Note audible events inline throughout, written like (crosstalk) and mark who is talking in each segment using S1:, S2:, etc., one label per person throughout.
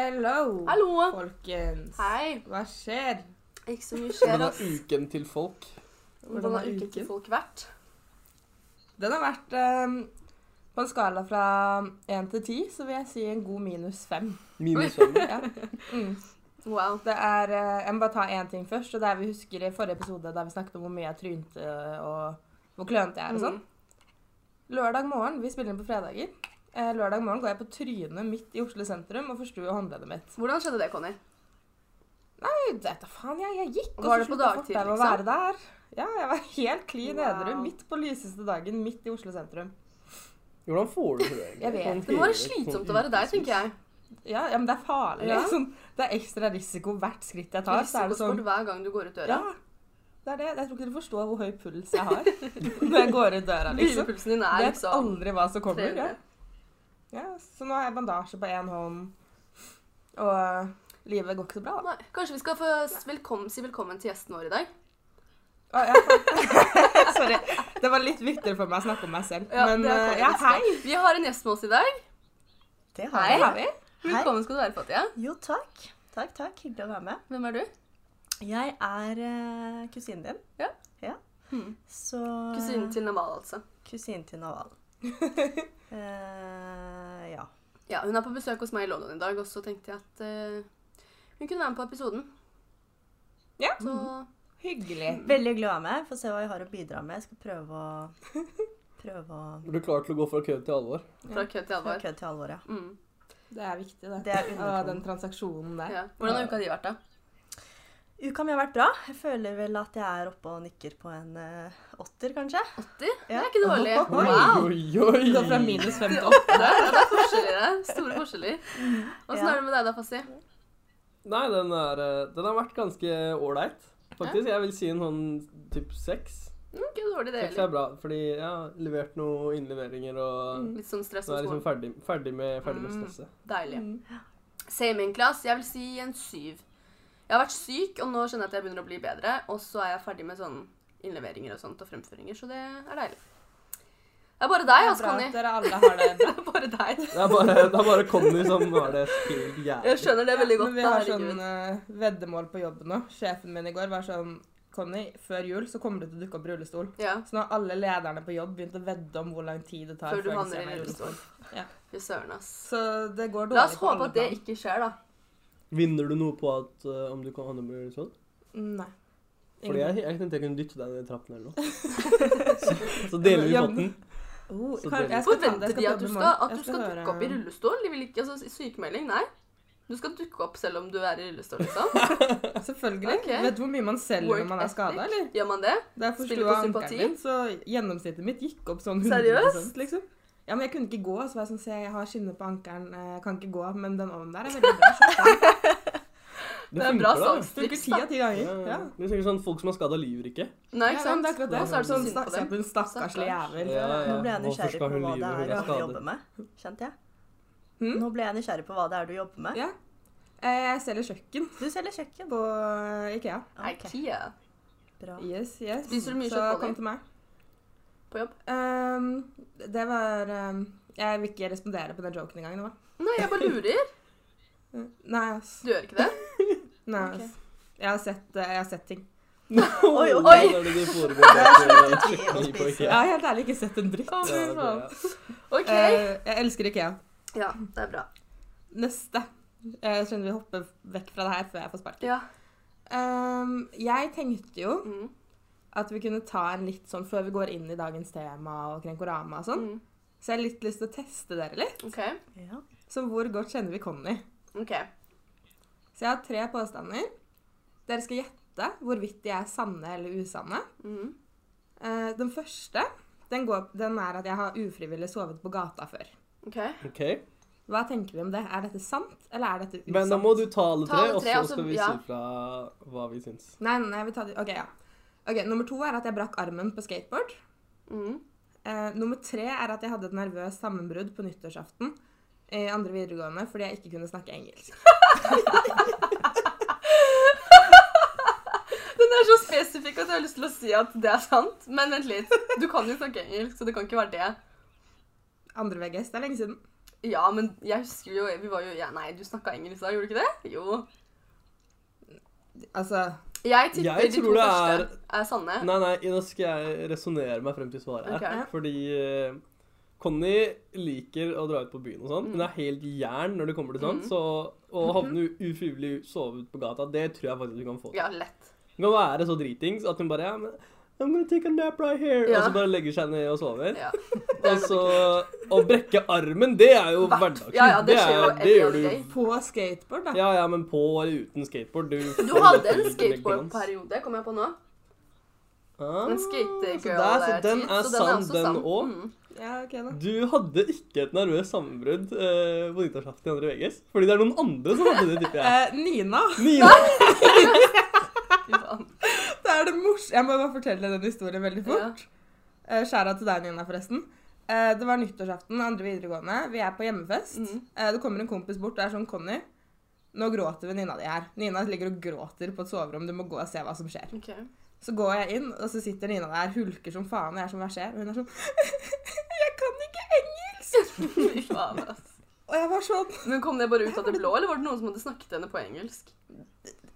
S1: Hello,
S2: Hallo!
S1: folkens.
S2: Hei!
S1: Hva skjer?
S2: Ikke så mye skjer,
S3: Hvordan
S2: ass.
S3: er uken til folk?
S2: Hvordan har uken til folk vært?
S1: Den har vært eh, på en skala fra 1 til 10, så vil jeg si en god minus 5.
S3: Minus fem.
S2: (laughs)
S1: Ja. Mm.
S2: Wow.
S1: Det er, eh, jeg må bare ta én ting først. og det er Vi husker i forrige episode der vi snakket om hvor mye jeg trynte og hvor klønete
S2: Mm.
S1: jeg er. og sånn. Lørdag morgen, Vi spiller inn på fredager. Eh, Lørdag morgen går jeg på trynet midt i Oslo sentrum og forstuer håndleddet mitt.
S2: Hvordan skjedde det, Conny?
S1: Gud, vet da faen, jeg, jeg gikk, og
S2: Var
S1: så
S2: det på
S1: slutta
S2: dagtid,
S1: fortauet å
S2: liksom?
S1: være der. Ja, jeg var helt klin
S2: Wow.
S1: edru midt på lyseste dagen, midt i Oslo sentrum.
S3: Hvordan får du det? egentlig?
S1: Jeg vet
S3: Sånn
S2: Det må være
S3: hele-
S2: slitsomt
S3: sånn
S2: å være der,
S3: ukevis.
S2: tenker jeg.
S1: Ja, ja men det er farlig.
S2: Ja.
S1: Sånn, det er ekstra risiko hvert skritt jeg tar. Så er det
S2: Risikosport
S1: sånn
S2: hver gang du går ut
S1: Ja.
S2: døra.
S1: Det er det. Jeg tror ikke dere forstår hvor høy puls jeg har (laughs) når jeg går ut døra, liksom.
S2: Hvilepulsen din er
S1: Vet
S2: liksom
S1: aldri hva som kommer. Ja.
S2: 300.
S1: Ja, så nå har jeg bandasje på én hånd, og eh, livet går ikke så bra, da.
S2: (laughs) Nei, Kanskje vi skal få s- velkom, si velkommen til gjesten vår i dag?
S1: Å, ja, faen. (laughs) Sorry. Det var litt viktigere for meg å snakke om meg selv.
S2: Ja,
S1: Men
S2: det er
S1: eh, ja,
S2: faktisk
S1: hei.
S2: Vi har en gjest med oss i dag.
S4: Det har
S1: Det
S2: Hei.
S1: har vi.
S4: Hei.
S2: Velkommen skal du være, Fatia.
S4: jeg. Jo, takk. Takk, takk. Hyggelig å være med.
S2: Hvem er du?
S4: Jeg er eh, kusinen din.
S2: Ja. Hmm.
S4: Hmm. Så
S2: Kusinen til Namal, altså.
S4: Kusinen til Naval. Eh, ja.
S2: Ja, Hun er på besøk hos meg i London i dag, og så tenkte jeg at eh, hun kunne være med på episoden.
S1: Ja.
S2: Så
S1: Hyggelig.
S4: Veldig hyggelig å være med. Får se hva jeg har å bidra med. Jeg skal prøve å Prøve å
S3: Er du klar til å gå fra kødd til alvor?
S2: fra kødd til
S4: Fra
S2: alvor.
S4: kødd til alvor, ja.
S2: Mm.
S1: Det er viktig, det.
S4: Det er
S1: Å, den
S4: undertonen.
S1: transaksjonen der.
S2: Ja. Hvordan har uka di vært, da?
S4: Uka mi har vært bra. Jeg føler vel at jeg er oppe og nikker på en eh, åtter, kanskje.
S2: 80? Det
S4: Ja.
S2: er ikke
S1: (laughs)
S2: dårlig.
S1: Oi.
S2: Wow!
S3: Oi, oi,
S1: Gå fra
S3: oi!
S1: minus fem til åtte.
S2: Det er, det er forskjeller der. Store forskjeller.
S1: Mm-hmm.
S2: Åssen
S4: Ja.
S2: er det med deg da, Mm, Fasi?
S3: Nei, den, er, eh, den har vært ganske ålreit, faktisk. Jeg vil si en sånn typ seks.
S2: Ikke dårlig, det
S3: Seks er
S2: heller.
S3: bra, fordi jeg har levert noen innleveringer, og
S2: Litt sånn stress
S3: nå er
S2: med
S3: jeg liksom
S2: skolen.
S3: ferdig, ferdig med, ferdig med
S1: Mm.
S3: stresset.
S2: Deilig.
S1: Mm.
S2: Same in class. Jeg vil si en syv. Jeg har vært syk, og nå skjønner jeg at jeg begynner å bli bedre. Og så er jeg ferdig med sånn innleveringer og sånt og fremføringer, så det er deilig. Det er bare deg, altså,
S1: Bra at
S2: Conny.
S1: dere alle har det bra.
S2: (laughs) Det er bare deg.
S3: Det er bare, det er bare Conny som har det helt
S2: Jeg
S3: jævlig.
S2: skjønner det veldig godt.
S1: Men vi
S2: da,
S1: har
S2: herregud.
S1: sånn eh, veddemål på jobb nå. Sjefen min i går var sånn Conny, før jul så kommer det til å dukke opp rullestol.
S2: Ja,
S1: Så nå har alle lederne på jobb begynt å vedde om hvor lang tid det tar
S2: før du
S1: jeg
S2: havner
S1: ser
S2: i
S1: meg
S2: rullestol.
S1: Ja.
S2: Fy søren, ass.
S1: Så det går dårlig
S2: La oss
S1: på
S2: håpe
S1: alle
S2: at det
S1: plan.
S2: ikke skjer, da.
S3: Vinner du noe på at, eh, om du kan handle med sånn?
S1: Nei.
S3: Fordi jeg, jeg tenkte jeg kunne dytte deg ned i trappen eller noe. Så, så deler vi
S1: Ja, men-
S3: potten.
S1: Oh,
S3: Så
S1: kan,
S3: dårlig.
S1: jeg skal ta det.
S2: Forventer
S1: Jeg
S2: de
S1: ta
S2: at du
S1: det i
S2: skal,
S1: morgen.
S2: at
S1: Jeg
S2: du skal
S1: høre-
S2: dukke opp i rullestol? De vil ikke altså, i sykemelding, nei. Du skal dukke opp selv om du er i rullestol,
S1: (laughs)
S2: liksom.
S1: Selvfølgelig.
S2: Ok.
S1: Vet du hvor mye man selger
S2: Work
S1: når man er skada,
S2: ethic.
S1: eller?
S2: Gjør man det?
S1: Da jeg forsto
S2: Spiller på
S1: ankelen
S2: sympati?
S1: min, så gjennomsnittet mitt gikk opp sånn 100
S2: Seriøst?
S1: liksom. Ja, men jeg kunne ikke gå, så var jeg sånn, se, jeg har skinner på ankelen, eh, jeg kan ikke gå, men den ovnen der er veldig bra.
S2: (laughs)
S1: skjønt, da.
S2: Det er bra
S3: funker, det.
S1: Funker
S2: salgstriks,
S1: ti
S2: da.
S1: av ti ganger.
S3: Ja, ja.
S1: Ja.
S3: Det er sikkert sånn folk som har skada lyver ikke.
S2: Nei,
S1: Ja, men
S2: ikke sant?
S1: det er akkurat det.
S2: Og så er det så
S1: Sånn
S2: synd på dem.
S1: stakkarslig stakkarslig jævel.
S4: Nå ble jeg
S3: Hvorfor
S4: nysgjerrig
S3: skal
S4: på
S3: hun
S4: hva
S3: lyve
S4: det
S3: når hun
S4: er
S3: er
S4: du
S3: skadet?
S4: jobber med. Kjente jeg.
S1: Hmm?
S4: Nå ble jeg nysgjerrig på hva det er du jobber med.
S1: Ja. Eh, Jeg selger kjøkken
S4: Du selger kjøkken.
S1: på eh, Ikea.
S4: Ok,
S2: Ikea
S4: bra.
S1: Yes, yes.
S2: Spiser du mye
S1: Så
S2: kjøttboller?
S1: kom til meg.
S2: på jobb.
S1: Ehm, det var ehm, Jeg vil ikke respondere på den joken engang. det var.
S2: Nei, jeg bare lurer.
S1: Nei, ass.
S2: Du gjør
S1: (laughs)
S2: ikke det?
S1: Nei,
S4: Ok.
S1: ass. Jeg, har sett, eh, jeg har sett ting.
S4: Oi, oi.
S3: Hva er det de foregår bak, eh, kjøkkenet på
S1: Jeg
S3: IKEA?
S1: har helt ærlig ikke sett en dritt.
S2: Å,
S3: Ja,
S2: fy
S3: det
S2: faen.
S3: er-
S2: OK.
S1: Eh, jeg elsker Ikea.
S2: Ja, det er bra.
S1: Neste. Jeg skjønner vi hopper vekk fra det her før jeg får sparken.
S2: Ja.
S1: Ehm, jeg tenkte jo
S2: Mm.
S1: at vi kunne ta en litt sånn før vi går inn i dagens tema og Krenkorama og sånn.
S2: Mm.
S1: Så jeg har litt lyst til å teste dere litt.
S2: OK.
S4: Ja.
S1: Så hvor godt kjenner vi Conny?
S2: ok.
S1: Så jeg har tre påstander. Dere skal gjette hvorvidt de er sanne eller usanne.
S2: Mm.
S1: Eh, den første den, går, den er at jeg har ufrivillig sovet på gata før.
S2: ok.
S3: Ok,
S1: Hva tenker vi om det? Er dette sant, eller er dette usant?
S3: Men da må du ta alle
S2: Ta
S3: tre,
S2: alle
S3: og
S2: tre,
S3: så
S2: og så-
S3: skal vi
S2: ja.
S3: si fra hva vi syns.
S1: Nei, nei, nei, vi tar de. Ok, ja. Ok, Nummer to er at jeg brakk armen på skateboard.
S2: Mm.
S1: Eh, nummer tre er at jeg hadde et nervøst sammenbrudd på nyttårsaften i andre videregående fordi jeg ikke kunne snakke engelsk.
S2: Den er så spesifikk at jeg har lyst til å si at det er sant. Men vent litt. Du kan jo snakke engelsk, så det kan ikke være det.
S1: Andre VGS, det er lenge siden.
S2: Ja, men jeg husker jo Vi var jo ja, Nei, du snakka engelsk da, gjorde du ikke det? Jo.
S1: Altså
S2: Jeg tipper
S3: Jeg
S2: de
S3: tror
S2: to
S3: det
S2: første
S3: er-
S2: er sanne.
S3: Nei, nei, nå skal jeg resonnere meg frem til svaret her.
S2: Ok.
S3: Fordi eh, Conny liker å dra ut på byen og sånn. Hun er helt jern når det kommer til sånt.
S2: Mm.
S3: Så å havne u- ufrivillig sove ut på gata, det tror jeg faktisk hun kan få.
S2: Ja, lett.
S3: Hun kan være så dritings at hun bare ja, men I'm gonna take a nap right here.
S2: Ja.
S3: Og så bare legger seg ned og sover. (laughs)
S2: Ja.
S3: Og så (laughs) Å brekke armen, det er jo
S2: Hvert-
S3: hverdagslig.
S2: ja, ja, det skjer jo
S3: er-
S2: every
S3: det gjør
S2: other
S3: du.
S2: day.
S1: på skateboard, da.
S3: Ja, ja, men på eller uten skateboard. Du,
S2: Du hadde en
S3: du legger glans.
S2: skateboardperiode, kom jeg på nå.
S3: Ah,
S2: En
S3: så der- så Den
S2: skategirl-tid,
S3: er
S2: så den er
S3: sann,
S2: også
S3: den
S2: sann.
S3: òg.
S2: Mm.
S1: Ja, ok da.
S3: Du hadde ikke et nervøst sammenbrudd eh, på nyttårsaften i andre Vegas. Fordi det er noen andre som hadde det, tipper jeg.
S2: (laughs)
S1: Eh, Nina.
S3: Nina!
S2: Fy faen.
S1: Det er det mors... Jeg må bare fortelle den historien veldig fort.
S2: Ja.
S1: Eh, Skjæra til deg, Nina, forresten. Eh, Det var nyttårsaften, andre videregående. Vi er på hjemmefest.
S2: Mhm.
S1: Eh, Det kommer en kompis bort og er sånn Conny, nå gråter venninna di her. Nina ligger og gråter på et soverom. Du må gå og se hva som skjer.
S2: (laughs) Ok.
S1: Så går jeg inn, og så sitter Nina der, hulker som faen. Og jeg er sånn, (laughs) hva skjer? Og hun er sånn Jeg kan ikke engelsk!
S2: (laughs) Fy faen, ass.
S1: Og jeg var sånn
S2: Men kom det bare ut av det blå, eller var det noen som hadde snakket henne på (laughs) engelsk?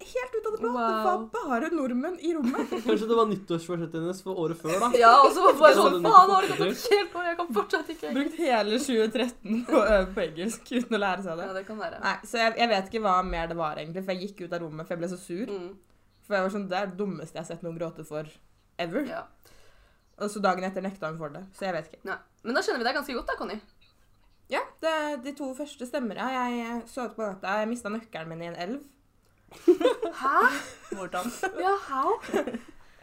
S1: helt ut av det blå.
S2: Wow.
S1: Det var bare nordmenn i rommet.
S3: Kanskje det var nyttårsforsettet hennes for året før, da.
S2: Ja, og så var det bare
S3: Så
S2: sånn
S3: hadde
S2: Faen,
S3: hun ikke
S2: hva har det kommet
S3: fått det
S2: helt på? Jeg kan fortsatt ikke engelsk.
S1: Brukt hele 2013 på å øve på engelsk uten å lære seg det.
S2: Ja, det kan være.
S1: Nei, så jeg, jeg vet ikke hva mer det var, egentlig. For jeg gikk ut av rommet, for jeg ble så sur.
S2: Mm,
S1: For jeg var sånn, Det er det dummeste jeg har sett noen gråte for ever.
S2: ja.
S1: Og så dagen etter nekta hun for det. Så jeg vet ikke.
S2: Nei. Men da kjenner vi deg ganske godt, da, Conny.
S1: Ja, det, De to første stemmer, ja. Jeg så ut på natta. Jeg mista nøkkelen min i en elv.
S2: Hæ?
S4: Hvordan?
S2: Ja, how?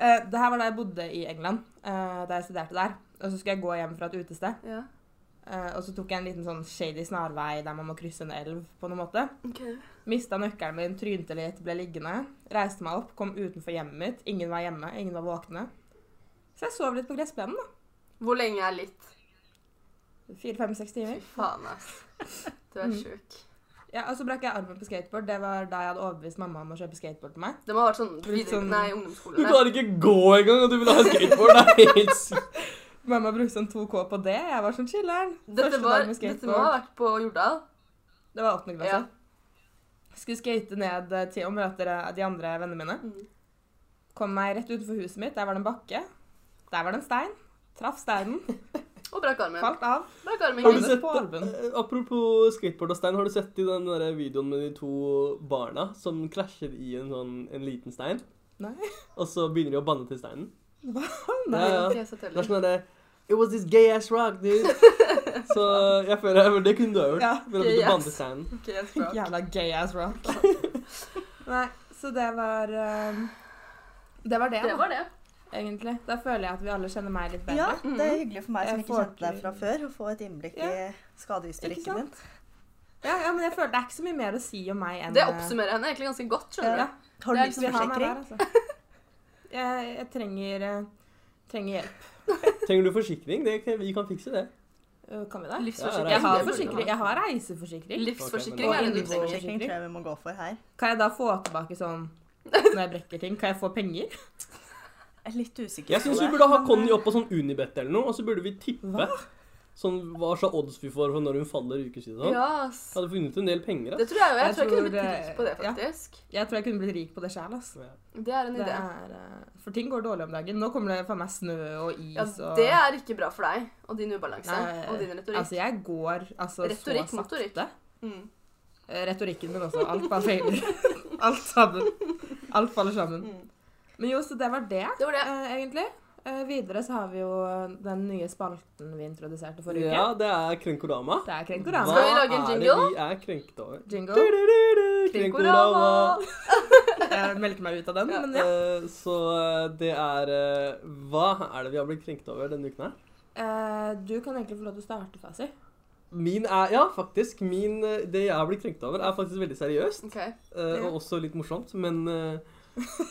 S1: Eh, det her var da jeg bodde i England, eh, da jeg studerte der. Og så skulle jeg gå hjem fra et utested.
S2: Ja,
S1: Eh, og så tok jeg en liten sånn shady snarvei der man må krysse en elv på noen måte.
S2: ok.
S1: Mista nøkkelen min, trynte litt, ble liggende. Reiste meg opp, kom utenfor hjemmet mitt. Ingen var hjemme, ingen var våkne. Så jeg sov litt på gressplenen, da.
S2: Hvor lenge er litt?
S1: Fire-fem-seks
S2: Fy
S1: timer.
S2: faen, ass. Du er sjuk.
S1: Ja, Og så brakk jeg armen på skateboard. Det var da jeg hadde overbevist mamma om å kjøpe skateboard til meg.
S2: Det må ha vært sånn
S1: Litt
S2: videre...
S1: sånn-
S2: Nei,
S3: Du
S2: ungdomsskole. Nei.
S3: klarer ikke gå engang, og du vil ha skateboard. Det er helt sykt.
S1: Mamma brukte sånn 2K på det. Jeg var sånn chiller'n.
S2: Dette,
S1: Første
S2: var,
S1: dag med
S2: dette må ha
S1: skateboard.
S2: vært på Jordal.
S1: Det var åttende klasse.
S2: Ja.
S1: Skulle skate ned eh, til og møte eh, de andre vennene mine.
S2: Mm.
S1: Kom meg rett utenfor huset mitt. Der var det en bakke. Der var det en stein. Traff steinen.
S2: Og brakk armen.
S1: Falt av.
S2: Brakk armen.
S3: Har du
S2: Ingen.
S1: Hengende
S3: sett,
S1: på albuen.
S3: eh, apropos skateboard og stein, har du sett i den der videoen med de to barna som krasjer i en, sånn, en liten stein?
S1: Nei.
S3: Og så begynner de å banne til steinen?
S1: Nei.
S3: Ja, ja.
S2: Ikke jeg sett
S3: Det er
S2: heller.
S3: sånn derre It was this gay ass rock, dude. Så jeg føler men Det kunne du ha gjort.
S1: Ja,
S3: men å
S2: gay
S3: begynne å banne
S2: ass.
S3: til steinen.
S2: Ikke jeg tror.
S1: Jævla gay ass rock. (laughs) Nei, så det var eh, Det var det,
S2: Det
S1: da,
S2: var det.
S1: egentlig. Da føler jeg at vi alle kjenner meg litt bedre.
S4: Ja, det er hyggelig for meg som
S1: Jeg
S4: ikke
S1: får
S4: kjente deg fra før, å få et innblikk i
S1: Ikke
S4: skadehistorikken din.
S1: Ja, ja, men jeg føler det er ikke så mye mer å si om meg enn
S2: Det
S1: eh,
S2: oppsummerer henne egentlig ganske godt, skjønner
S1: ja.
S2: du. Det
S4: Har du
S2: er liksom-
S4: livsforsikring?
S2: (laughs)
S1: altså. Jeg, jeg trenger, eh, trenger hjelp.
S3: Trenger du forsikring? Det, kan- vi kan fikse det.
S1: Eh, Kan vi det?
S2: Livsforsikring.
S3: Ja,
S1: Jeg har,
S2: det burde du
S1: forsikring, jeg har reiseforsikring.
S2: Livsforsikring er
S3: Ok,
S4: Og
S2: det du trenger.
S4: innboforsikring tror jeg vi må gå for her.
S1: Kan jeg da få tilbake sånn når jeg brekker ting? Kan jeg få penger?
S4: Jeg er litt usikker
S3: Jeg
S4: på
S3: syns vi
S4: det.
S3: burde ha
S4: men-
S3: Conny opp på sånn Unibet eller noe, og så burde vi tippe
S1: Hva?
S3: sånn, hva slags odds vi får for når hun faller ukesvis og sånn.
S2: Ja, ass.
S3: Jeg hadde funnet en del penger. da.
S2: Det tror jeg jo. Jeg,
S1: Jeg
S2: tror jeg kunne
S1: tror
S2: blitt
S1: det-
S2: rik på det,
S1: ja.
S2: faktisk.
S1: Jeg tror jeg kunne blitt rik på det sjæl. ass.
S3: Ja.
S2: Det er en
S1: Det
S2: idé.
S1: er, eh, for ting går dårlig om dagen. Nå kommer det faen meg snø og is
S2: Ja,
S1: og
S2: det er ikke bra for deg og din ubalanse
S1: Nei,
S2: og din retorikk.
S1: Altså, jeg går altså,
S2: Retorikk,
S1: så sakte.
S2: motorikk. Mm.
S1: Eh, Retorikken min også. Alt bare feiler. (laughs) Alt sammen. Alt faller sammen.
S2: Mm.
S1: Men jo, så det var det.
S2: Det var det.
S1: eh, egentlig. Eh, videre så har vi jo eh, den nye spalten vi introduserte forrige
S3: ja,
S1: uke.
S3: det er Krenkorama.
S1: Det er
S2: Skal
S1: Krenkorama.
S2: vi lage en
S3: Hva
S2: jingle?
S3: er det vi er krenket over?
S1: Jingle.
S3: Du-du-du-du,
S2: Krenkorama!
S1: Jeg meldte meg ut av den,
S2: Ja.
S1: men ja.
S3: Eh, Så eh, det er eh, Hva er det vi har blitt krenket over denne uken her?
S1: Eh, du kan egentlig få lov til å starte, Fasi.
S3: Min er Ja, faktisk. Min, eh, det jeg har blitt krenket over, er faktisk veldig seriøst.
S2: Ok.
S3: eh,
S1: Ja.
S3: Og også litt morsomt, men eh, (clears throat)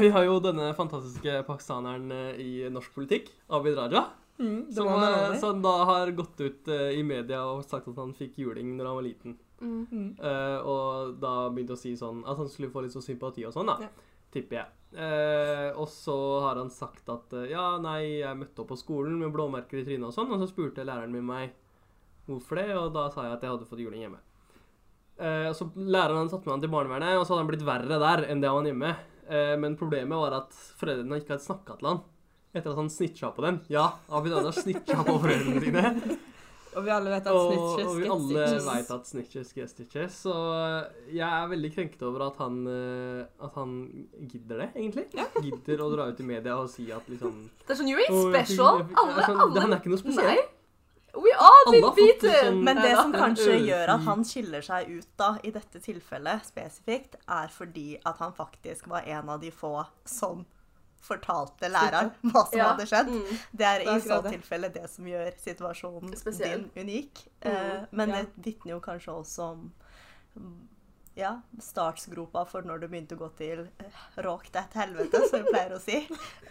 S3: Vi har jo denne fantastiske pakistaneren eh, i norsk politikk, Abid Raja.
S1: Mm,
S3: Som, eh, som da har gått ut eh, i media og sagt at han fikk juling når han var liten.
S2: Mm.
S1: Mm.
S3: Eh, og da begynte å si sånn at han skulle få litt sånn sympati og sånn, da.
S1: Ja.
S3: Tipper jeg. Eh, og så har han sagt at eh, ja, nei, jeg møtte opp på skolen med blåmerker i trynet og sånn, og så spurte læreren min meg hvorfor det, og da sa jeg at jeg hadde fått juling hjemme. Eh, og så Læreren hadde tatt med han til barnevernet, og så hadde han blitt verre der enn det han var hjemme. Eh, men problemet var at foreldrene ikke hadde snakka til han etter at han snitcha på dem. Ja, Abid Raja snitcha på foreldrene sine.
S1: Og vi alle vet at Mm.
S3: Og,
S1: snitches
S3: og vi
S1: get
S3: alle
S1: stitches.
S3: veit at snitches get stitches. Så jeg er veldig krenket over at han, eh, at han gidder det, egentlig. Gidder å dra ut i media og si at liksom
S2: Det er sånn, you ain't
S3: «Å, jeg fikk-
S2: special.
S3: jeg fikk-
S2: Alle,
S3: altså, Han
S2: alle.
S3: er ikke noe spesiell.
S2: Nei. We are
S3: Alle
S2: been
S3: har fått det
S2: beaten.
S3: sånn-
S4: Men det
S2: Neida.
S3: (laughs)
S4: som kanskje
S3: en
S4: gjør at
S3: ørefri-
S4: han skiller seg ut da, i dette tilfellet spesifikt, er fordi at han faktisk var en av de få som fortalte læreren hva som
S2: Ja.
S4: hadde skjedd.
S2: Mm.
S4: Det er i
S1: Det er
S4: så
S1: akkurat det.
S4: tilfelle det som gjør situasjonen
S2: Spesiell.
S4: din unik.
S2: Mm,
S4: Eh, Men
S1: ja.
S4: det vitner jo kanskje også om mm, ja, startsgropa for når du begynte å gå til eh, råk deg til helvete, som vi pleier å si.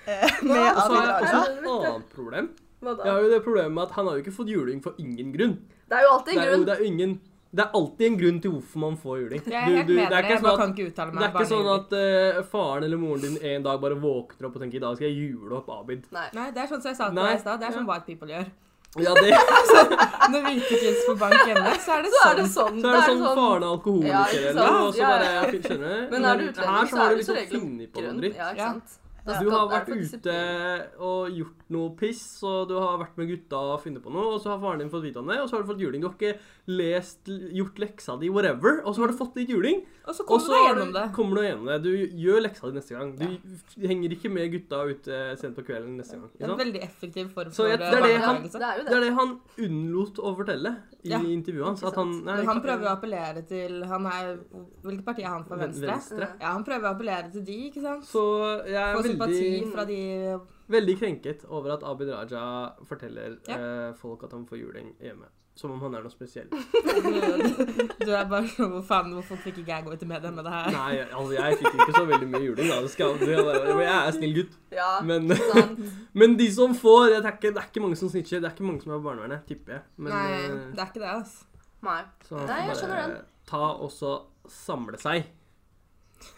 S4: eh, Med
S2: Ja,
S3: Og så
S4: Abid
S3: har jeg
S4: Raja.
S3: også et annet problem.
S2: Hva
S3: Jeg
S2: da?
S3: har jo det problemet med at han har jo ikke fått juling for ingen grunn.
S2: Det er jo alltid
S3: Det
S2: en
S3: er, jo,
S2: grunn.
S3: det, er jo ingen, det er alltid en grunn til hvorfor man får juling.
S1: Jeg er helt
S3: Du- du-
S1: med
S3: det er
S1: deg,
S3: ikke
S1: jeg
S3: sånn
S1: bare
S3: at-
S1: kan ikke uttale meg.
S3: Det er ikke
S1: bare
S3: sånn
S1: lenger.
S3: at eh, faren eller moren din en dag bare våkner opp og tenker i dag skal jeg jule opp Abid.
S2: Nei.
S1: Nei, det er sånn som jeg sa til
S3: Nei.
S1: deg i stad. Det er sånn white people gjør.
S3: Ja, det,
S1: Når hvite kids får bank
S3: (laughs)
S1: hjemme, så er det
S2: Så
S1: sånn.
S2: er det sånn.
S3: så er det sånn faren er
S2: Ja,
S3: alkoholiker
S2: ikke sant?
S3: eller noe, og så
S2: Ja, ja.
S3: bare ja, fy- Skjønner
S2: Men er
S3: du?
S2: du
S3: her
S2: utlending,
S3: så
S2: så
S3: har
S2: er
S3: du
S2: det som
S3: liksom
S2: regel
S3: funnet på
S2: grunn.
S3: noe dritt.
S2: Ja, ikke
S1: Ja.
S2: sant?
S4: Ja.
S3: Du har
S2: Da er
S3: vært
S2: det faktisk
S3: ute og gjort noe piss, og du har vært med gutta og funnet på noe, og så har faren din fått vite om det, og så har du fått juling. Du har ikke lest, gjort leksa di, whatever, og så har du fått litt juling.
S1: Og så
S3: Og
S1: kommer
S3: så
S1: du deg
S3: har
S1: gjennom det.
S3: du- kommer du gjennom det. Du gjør leksa di neste gang. Du henger ikke med gutta ute sent på kvelden neste gang.
S1: Det
S3: Ikke
S1: er en
S3: sant?
S1: veldig effektiv form
S3: Så
S1: for
S3: jeg-
S1: eh,
S3: det er det han-
S2: Ja,
S1: barneoppdragelse.
S2: det er jo
S3: Det er
S2: det.
S3: det han unnlot å fortelle i
S1: Ja,
S3: intervjuet hans.
S2: ikke
S3: At han, nei,
S1: Men han prøver å appellere til han er, Hvilket parti er han for? Venstre?
S3: Venstre.
S1: Ja, han prøver å appellere til de, ikke sant?
S3: Så jeg er
S1: Få sympati
S3: veldig,
S1: fra de (laughs)
S3: veldig krenket over at Abid Raja forteller
S1: Ja.
S3: eh, folk at han får juling hjemme. Som om han er noe spesiell.
S1: Du er bare sånn Hvor faen, hvorfor fikk ikke jeg gå ut i media med det her?
S3: Nei, altså jeg fikk ikke så veldig mye juling. Da. Det skal, det er, jeg er snill gutt.
S2: Ja,
S3: Men,
S2: sant.
S3: (laughs) men de som får Det er ikke, det er ikke mange som snitcher. Det er ikke mange som er på barnevernet, tipper jeg. Men,
S1: Nei,
S3: eh,
S1: det er ikke det, (laughs) altså.
S2: Nei.
S3: Så han
S2: Nei,
S3: får
S2: jeg skjønner
S3: bare ta og så samle seg.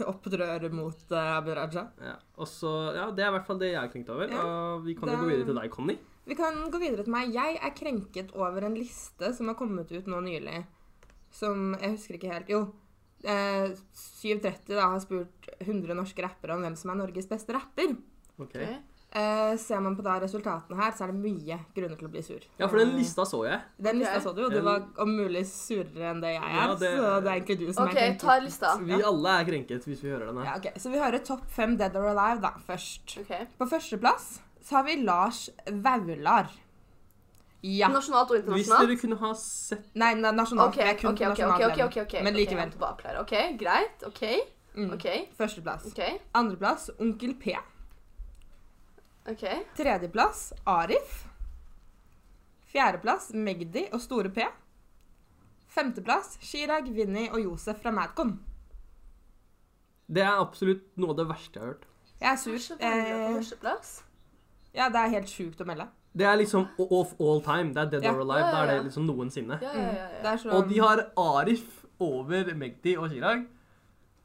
S1: Opprør mot eh, Abid Raja.
S3: Ja. Og så, ja, Det er i hvert fall det jeg er krenkt over.
S1: Ja.
S3: Og vi kan jo
S1: Da-
S3: gå videre til deg, Conny.
S1: Vi kan gå videre til meg. Jeg er krenket over en liste som har kommet ut nå nylig. Som jeg husker ikke helt. Jo. Eh, 730 da har spurt 100 norske rappere om hvem som er Norges beste rapper.
S3: Ok.
S2: Ok.
S1: Eh, ser man på da resultatene her, så er det mye grunner til å bli sur.
S3: Ja, for den lista så jeg.
S1: Den lista
S2: Ok.
S1: så du, og du
S3: Ja.
S1: var om mulig surere enn det jeg er.
S3: Ja, det-
S1: Så det er egentlig du som
S2: OK,
S1: er
S2: ta
S1: krenket.
S2: lista.
S3: Vi alle er krenket hvis vi hører den her.
S1: Ja, ok. Så vi hører topp fem Dead or Alive da, først.
S2: Ok.
S1: På førsteplass så har vi Lars Vaular. Ja.
S2: Nasjonalt og
S3: Hvis
S2: internasjonalt?
S3: dere kunne ha sett
S1: Nei, na- nasjonalt.
S2: OK,
S1: Det er
S2: ok,
S1: kun
S2: ok, ok,
S1: nasjonalt
S2: ok,
S1: levende.
S2: ok, ok.
S1: Men
S2: Ok,
S1: likevel.
S2: jeg må bare avklare. OK, greit. OK,
S1: Mm.
S2: OK,
S1: Førsteplass.
S2: OK.
S1: Andreplass Onkel P.
S2: ok.
S1: Tredjeplass Arif. Fjerdeplass Magdi og Store P. Femteplass Chirag, Vinni og Josef fra Madcon.
S3: Det er absolutt noe av det verste jeg har hørt.
S1: Jeg er
S2: Du
S1: sur.
S2: er så veldig
S1: Eh,
S2: på førsteplass.
S1: ja, det er helt sjukt å melde.
S3: Det er liksom of all time. Det er dead
S1: Ja.
S3: or alive. Da
S2: Ja, ja,
S3: er
S2: ja.
S3: det liksom noensinne.
S2: Ja, ja, ja.
S1: Det
S2: ja.
S1: er så,
S3: Og de har Arif over Magdi og Chirag.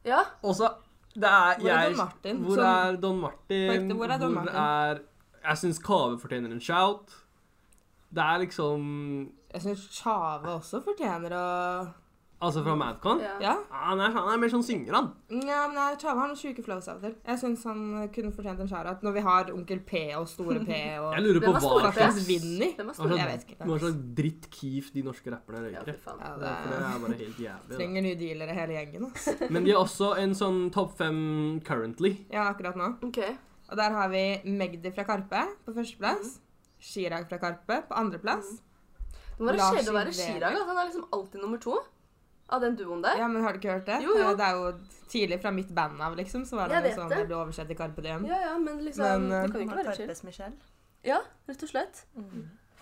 S2: ja.
S3: Og så det er,
S1: Hvor er
S3: jeg,
S1: Don Martin?
S3: Hvor
S1: Som-
S3: er Don Martin?
S1: På ekte, hvor er Don Martin?
S3: er- jeg syns Kave fortjener en shout. Det er liksom
S1: Jeg syns Tjave også fortjener å
S3: Altså fra Madcon.
S2: ja.
S1: Ja.
S3: Han, er, han er mer sånn synger, han.
S1: Nja, men nei, Tjave har noen sjuke flows av og til. Jeg syns han kunne fortjent en skjærat når vi har Onkel P og Store P
S3: Jeg
S1: og
S3: lurer
S2: Hvem
S3: på
S2: er
S3: hva
S2: store
S3: slags,
S1: slags Vinni.
S2: Hvem er
S3: hva
S2: store?
S1: Jeg
S3: slags,
S1: vet ikke.
S3: hva slags dritt-keef de norske rapperne
S2: Ja, fy
S3: røyker. i.
S2: faen.
S1: Ja,
S3: For
S1: det
S3: det er bare helt jævlig.
S1: trenger nye dealere hele gjengen. ass.
S3: Da. Men de har også en sånn topp fem currently.
S1: Ja, akkurat nå.
S2: OK.
S1: Og der har vi Magdi fra Karpe på førsteplass.
S2: Mm.
S1: Chirag fra Karpe på andreplass.
S2: Det må være
S1: Lars
S2: kjedelig å være
S1: Iveren.
S2: Chirag. Altså, han er liksom alltid nummer to av den duoen der.
S1: Ja, men har du ikke hørt det?
S2: Jo, jo.
S1: Det er jo tidlig fra mitt band av, liksom. Så var
S2: Jeg
S1: det jo
S2: vet
S1: sånn
S2: det.
S1: det ble oversett til Karpe Diem.
S2: Ja, ja, men liksom
S1: Men, eh,
S2: Det kan jo ikke være chill.
S4: Carpes Michelle.
S2: Ja, rett og slett.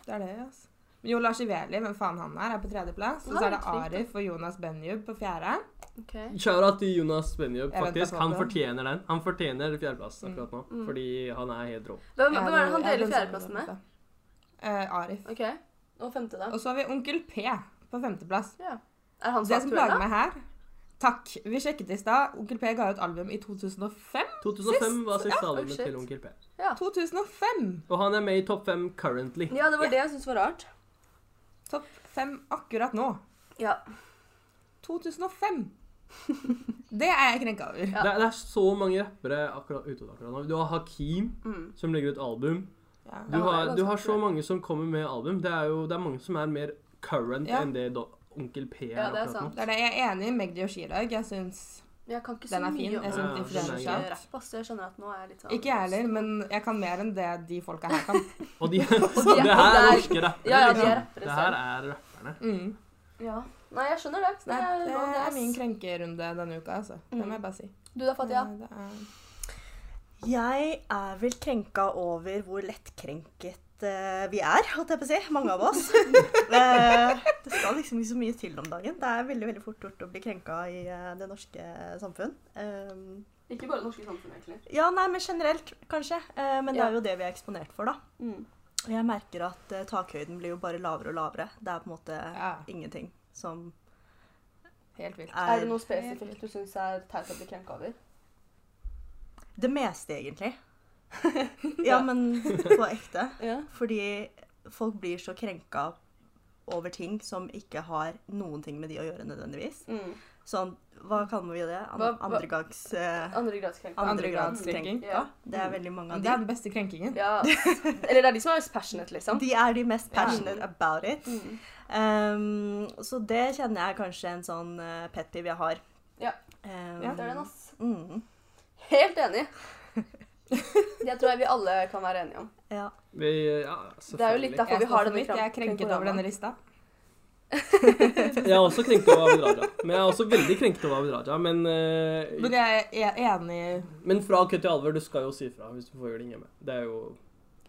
S1: Det er det, altså. Men Jo Lars Iveli, hvem faen han er, er på tredjeplass. Og så er det
S2: Ja, det er
S1: Arif og Jonas Benjub på fjerde.
S2: OK.
S3: Kjære til Jonas Benjub,
S1: Jeg venter
S3: faktisk.
S1: på
S3: Han
S1: det.
S3: fortjener den. Han fortjener fjerdeplass akkurat nå,
S2: Mm.
S3: fordi han er helt rå.
S2: Hvem, hvem er det han
S1: Ja,
S2: deler
S1: den
S2: fjerdeplassen
S1: sammen
S2: med?
S1: Eh, Arif.
S2: OK. Og femte, da?
S1: Og så har vi Onkel P på femteplass.
S2: Ja. Er han så
S1: Det som plager
S2: aktuell, da?
S1: meg her Takk. Vi sjekket i stad. Onkel P ga ut album i 2005.
S3: 2005 var siste
S2: ja,
S3: albumet
S2: oh shit.
S3: til Onkel P.
S1: 2005!
S3: Og han er med i topp fem currently.
S2: Ja, det var det jeg syntes var rart.
S1: Topp fem akkurat nå.
S2: Ja.
S1: 2005! (laughs) Det er jeg krenka over.
S2: Ja.
S3: Det, er- det er så mange rappere akkurat, ute akkurat nå. Du har Hakeem,
S2: Mm.
S3: som legger ut album.
S1: Ja.
S2: Ja,
S3: Du
S2: det er
S3: har,
S2: ganske
S3: du har så
S2: akkurat.
S3: mange som kommer med album. Det er jo det er mange som er mer current
S1: Ja.
S3: enn det do, Onkel P er
S2: Ja, det er
S3: akkurat
S2: sant.
S3: nå.
S1: Det er det jeg er enig i Magdi og Chirag. Jeg syns
S2: Men Jeg kan ikke
S1: Den
S2: så
S1: er fin.
S2: mye
S1: Jeg
S3: synes
S2: om
S3: den fortjener
S2: norsk
S1: shout.
S2: rapp, ass. Jeg skjønner at nå er jeg litt sånn
S1: Ikke jeg heller, men jeg kan mer enn det de folka her kan.
S2: (laughs)
S3: Og de, det
S2: og
S3: her
S2: det
S3: er
S2: er-
S3: norske rappere.
S2: Ja, ja, de er
S3: liksom.
S2: rappere
S3: Det her er rapperne.
S1: (laughs) Mm.
S2: Ja. Nei, jeg skjønner det.
S1: Det,
S2: Det er,
S1: er,
S2: lov,
S1: det
S2: det,
S1: er min
S2: ass.
S1: krenkerunde denne uka, altså. Det må jeg bare si.
S2: Du da, Fatia?
S1: Det er...
S4: Jeg er vel krenka over hvor lettkrenket eh, vi er, holdt jeg på å si. Mange av oss. Eh, det skal liksom ikke så mye til om dagen. Det er veldig veldig fort gjort å bli krenka i eh, det norske samfunn. Eh,
S2: Ikke bare det norske samfunnet, egentlig.
S4: ja, nei, men generelt, kanskje. Eh, men det
S2: Ja.
S4: er jo det vi er eksponert for, da.
S1: Mm.
S4: Og jeg merker at eh, takhøyden blir jo bare lavere og lavere. Det er på en måte
S1: Ja.
S4: ingenting som
S1: Helt vilt.
S2: Er
S4: er
S2: det noe spesifikt du syns er teit å bli krenka over?
S4: det meste, egentlig.
S2: (laughs) Ja.
S4: ja, men på ekte.
S2: Ja.
S4: Fordi folk blir så krenka over ting som ikke har noen ting med de å gjøre nødvendigvis.
S2: Mm.
S4: Sånn, hva kaller vi det? An
S2: Hva- hva-
S4: Andregangs... Eh,
S2: Andre grads krenka.
S1: Andregradskrenking.
S2: Ja.
S4: det er veldig mange av
S1: Det er
S4: de.
S1: den beste krenkingen.
S2: ja. Eller (laughs) det er de som er mest passionate, liksom.
S4: De er de mest passionate
S2: Ja.
S4: about it.
S2: Mm.
S4: Um, så det kjenner jeg er kanskje en sånn uh, pet peeve jeg har.
S2: Ja.
S4: Um,
S2: Det er den, ass.
S4: Mm,
S2: Helt (laughs) enig. Det tror jeg vi alle kan være enige om.
S4: ja.
S3: Vi, ja,
S2: Det er jo litt
S3: selvfølgelig.
S2: derfor vi
S1: Jeg står
S2: har
S1: for
S2: denne
S1: mitt, Jeg er krenket over denne lista.
S3: Jeg er også krenket over Abid Raja. Men jeg er også veldig krenket over Abid Raja. Men, eh,
S1: Men jeg er enig
S3: men fra kødd til alvor, du skal jo si fra hvis du får juling hjemme. Det er jo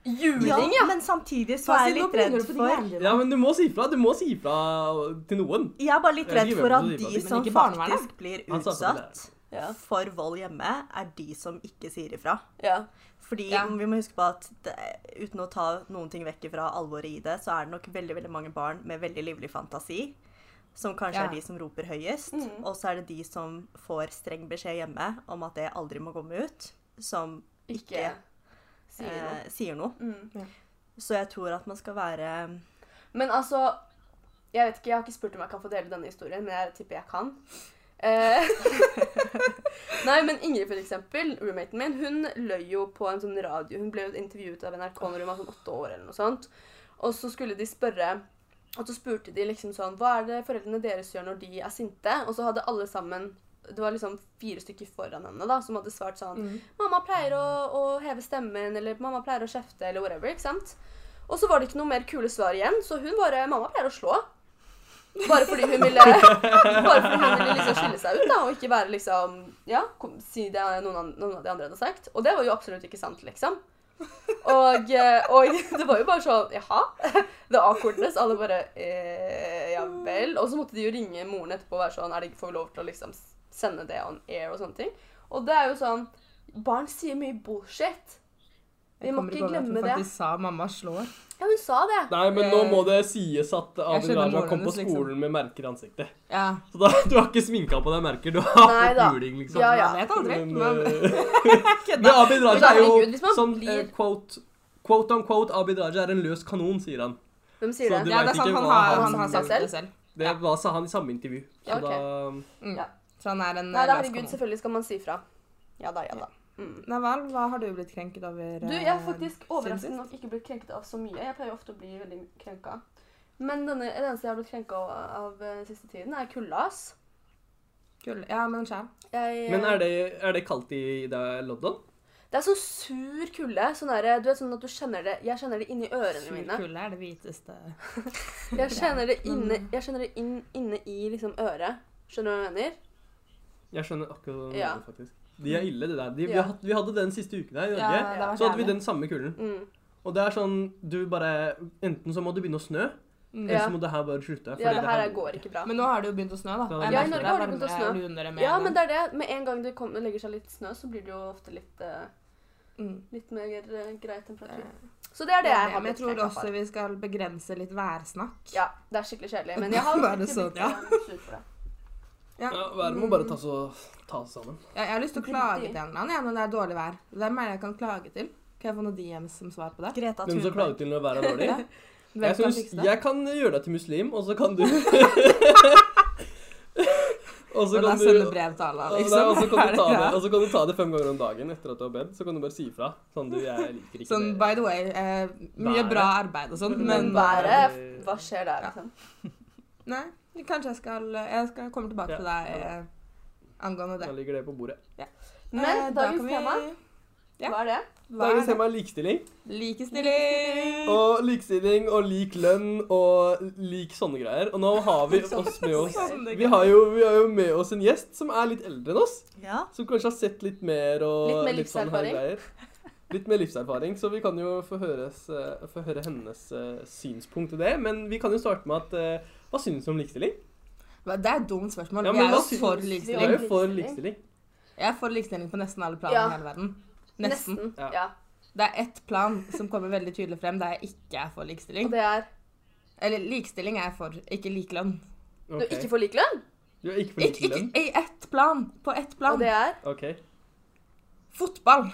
S4: ja,
S2: Juling, ja!
S4: men samtidig så
S1: Hva
S4: er
S1: sier
S4: jeg
S1: du?
S4: litt
S1: Begynner
S4: redd
S1: du på de
S4: for
S1: greiene dine?
S3: Ja, men du må si fra. Du må si fra til noen.
S4: Jeg er bare litt
S3: Jeg
S4: redd
S3: skriver
S4: for
S3: på
S4: at
S3: det,
S4: de
S3: men
S4: som
S1: ikke barnevernet.
S4: faktisk blir
S3: Han sa på det der.
S4: utsatt
S2: Ja.
S4: for vold hjemme, er de som ikke sier ifra.
S2: ja.
S4: Fordi
S1: Ja.
S4: vi må huske på at det, uten å ta noen ting vekk fra alvoret i det, så er det nok veldig veldig mange barn med veldig livlig fantasi som kanskje
S1: Ja.
S4: er de som roper høyest.
S2: Mhm.
S4: Og så er det de som får streng beskjed hjemme om at det aldri må komme ut, som
S2: Ikke
S4: Ikke.
S2: sier noe.
S4: eh, sier noe.
S2: Mm.
S4: Så jeg tror at man skal være
S2: Men altså Jeg vet ikke, jeg har ikke spurt om jeg kan få dele denne historien, men jeg tipper jeg kan. Eh, (laughs) Nei, men Ingrid, for eksempel, roommaten min, hun løy jo på en sånn radio. Hun ble jo intervjuet av NRK når hun var sånn åtte år, eller noe sånt. Og så skulle de spørre Og så spurte de liksom sånn Hva er det foreldrene deres gjør når de er sinte? Og så hadde alle sammen Det var liksom fire stykker foran henne da, som hadde svart
S1: Mm.
S2: sånn Mamma pleier å, å heve stemmen, eller mamma pleier å kjefte, eller whatever. ikke sant? Og så var det ikke noe mer kule svar igjen, så hun bare Mamma pleier å slå. Bare fordi hun ville (laughs) Bare fordi hun ville liksom skille seg ut, da, og ikke være liksom Ja, kom, si det noen, an- noen av de andre hadde sagt. Og det var jo absolutt ikke sant, liksom. Og, eh, og (laughs) det var jo bare sånn Jaha? (laughs) The awkwardness. Alle bare eh, Ja vel. Og så måtte de jo ringe moren etterpå og være sånn Er det ikke får vi lov til å liksom sende det on air og sånne ting? Og det er jo sånn Barn sier mye bullshit. Vi
S1: Jeg
S2: må
S1: kommer
S2: ikke
S1: over at
S2: glemme
S1: Hun
S2: det.
S1: faktisk sa 'mamma slår'.
S2: Ja, hun sa det.
S3: Nei, men nå må det sies at Abid
S1: skjønner
S3: Raja
S1: moren
S3: kom på
S1: hennes, liksom.
S3: skolen med merker i ansiktet.
S1: Ja.
S3: Så da, du har ikke sminka på deg merker. Du har
S2: Nei
S3: fått
S2: da.
S3: juling, liksom.
S2: Ja, ja.
S1: Man vet aldri.
S3: Men, (laughs)
S1: Men
S3: eh, men Abid Raja er
S2: Herregud, hvis
S3: jo
S2: man
S3: som
S2: blir-
S3: eh, quote Quote on quote, Abid Raja er en løs kanon, sier han.
S2: Hvem sier
S3: Så
S2: det?
S3: du-
S1: ja, det
S3: vet
S1: er sant.
S3: ikke
S1: Han
S3: hva
S1: har,
S2: han
S1: han har
S2: sier
S1: sagt det
S2: selv.
S1: selv.
S3: Det
S1: Ja.
S3: var, sa han i samme intervju. Så
S2: Ja, ok.
S3: da um,
S1: Mm.
S2: Ja.
S1: Så han er en
S2: Nei,
S1: eh,
S2: da,
S1: løs
S2: herregud,
S1: kanon.
S2: selvfølgelig skal man si fra. Ja da, ja da. Mm.
S1: Naval, hva har du blitt krenket over?
S2: Du,
S1: eh,
S2: jeg har faktisk
S1: siden sist?
S2: overraskende nok ikke blitt krenket av så mye. Jeg pleier ofte å bli veldig krenka. Men denne, det eneste jeg har blitt krenka av, av eh, siste tiden, er kulda, ass.
S1: Kul. Ja, men skjær.
S2: Jeg,
S3: Men er det, er det kaldt i det er London?
S2: det er sånn sur kulde. Sånn der, du vet sånn at du kjenner det Jeg kjenner det inni ørene mine.
S1: Kule er det hviteste
S2: Jeg kjenner
S3: Mm.
S2: det inne, jeg kjenner det inn, inne i liksom øret. Skjønner du hva jeg mener?
S3: Jeg skjønner akkurat hva du
S2: Ja.
S3: mener, faktisk. De er ille, det der. De, vi,
S2: Ja.
S3: hadde, vi hadde den siste uken her i Norge.
S1: det var
S3: Så hadde vi
S1: jævlig.
S3: den samme kulden.
S2: Mm.
S3: Og det er sånn, du bare Enten så må det begynne å snø,
S1: Mm.
S3: eller
S2: Ja.
S3: så må det her bare slutte. fordi
S2: Ja, det her går ikke bra.
S1: Men nå har det jo begynt å snø, da.
S3: Ja,
S1: Jeg
S3: i
S1: merker
S3: Norge
S1: er
S2: har det begynt å
S1: varmere
S2: snø.
S1: og lunere med
S2: Ja,
S1: en gang.
S2: men det er det. Med en gang det kommer, legger seg litt snø, så blir det jo ofte litt, eh,
S1: Mm.
S2: litt mer eh, grei temperatur.
S1: Eh,
S2: Så det er det jeg har
S1: men jeg
S2: blitt
S1: tror
S2: krenka
S1: også
S2: for.
S1: vi skal begrense litt værsnakk.
S2: Ja, det er skikkelig kjedelig.
S1: (laughs)
S2: Men jeg har
S1: Bare
S2: ikke
S1: sånn,
S2: blitt
S1: ja.
S2: eh, sur for det.
S1: Ja. Mm.
S3: Ja, Været må bare ta, så, ta seg sammen.
S1: Jeg, jeg har lyst til å
S2: Dritig.
S1: klage til en eller annen jeg, når det er dårlig vær. Hvem er det jeg kan klage til? Kan jeg få noen DMs som svar på det?
S4: Greta
S3: Hvem som
S1: (laughs)
S4: Thunberg.
S3: klager til når været er dårlig?
S1: Hvem
S3: Jeg,
S1: kan
S3: synes,
S1: fikse det?
S3: jeg kan gjøre deg til muslim, og så kan du (laughs) Og så
S1: Og da
S3: kan
S1: sende
S3: du
S1: brev til Allah,
S3: Og
S1: liksom.
S3: da- og så
S2: (laughs)
S3: kan,
S1: Er
S3: du
S1: det
S3: ta
S1: bra?
S3: det, og så kan du ta det fem ganger om dagen etter at du har bedt. Så kan du bare si ifra. Sånn, du, jeg liker ikke
S1: Sånn,
S3: det.
S1: by the way, eh, mye
S3: Været.
S1: bra arbeid og sånn,
S2: Men
S1: men
S2: været Hva skjer der, liksom?
S1: Nei, kanskje jeg skal Jeg skal komme tilbake
S3: Ja,
S1: til deg eh, angående
S3: Da
S1: det.
S3: ligger det på bordet.
S2: Men
S1: Eh, da
S2: dagens
S1: kan vi-
S2: tema,
S1: Ja.
S2: hva er det?
S1: Hva
S3: Dagens
S1: er det?
S3: tema er likestilling.
S1: Likestilling!
S3: Og likestilling og lik lønn og lik sånne greier. Og nå har vi oss med oss
S1: Sånne
S3: Vi har jo, vi har jo med oss en gjest som er litt eldre enn oss.
S4: Ja.
S3: Som kanskje har sett litt mer og
S2: Litt mer
S3: sånn
S2: livserfaring.
S3: her greier. Litt mer livserfaring, så vi kan jo få, høres, eh, få høre hennes eh, synspunkt til det. Men vi kan jo starte med at eh, Hva syns du om likestilling?
S1: Hva- Det er et dumt spørsmål.
S3: Ja,
S1: vi
S3: men
S1: er
S3: hva
S1: jo
S3: syns-
S1: for
S3: Vi er
S1: likestilling.
S3: jo for likestilling.
S1: Jeg er for likestilling på nesten alle plan
S2: Ja.
S1: i hele verden. Nesten.
S3: Ja.
S2: Ja.
S1: Det er ett plan som kommer veldig tydelig frem der jeg ikke er for likestilling.
S2: Og det er
S1: Eller likestilling er jeg for, ikke likelønn.
S2: Du
S3: Ok.
S2: ikke får lik lønn,
S3: Du er ikke for
S1: Ikke, ikke, (laughs)
S3: likelønn?
S1: I ett plan! På ett
S2: og
S1: plan.
S2: det er
S3: OK.
S2: (laughs)
S1: Fotball.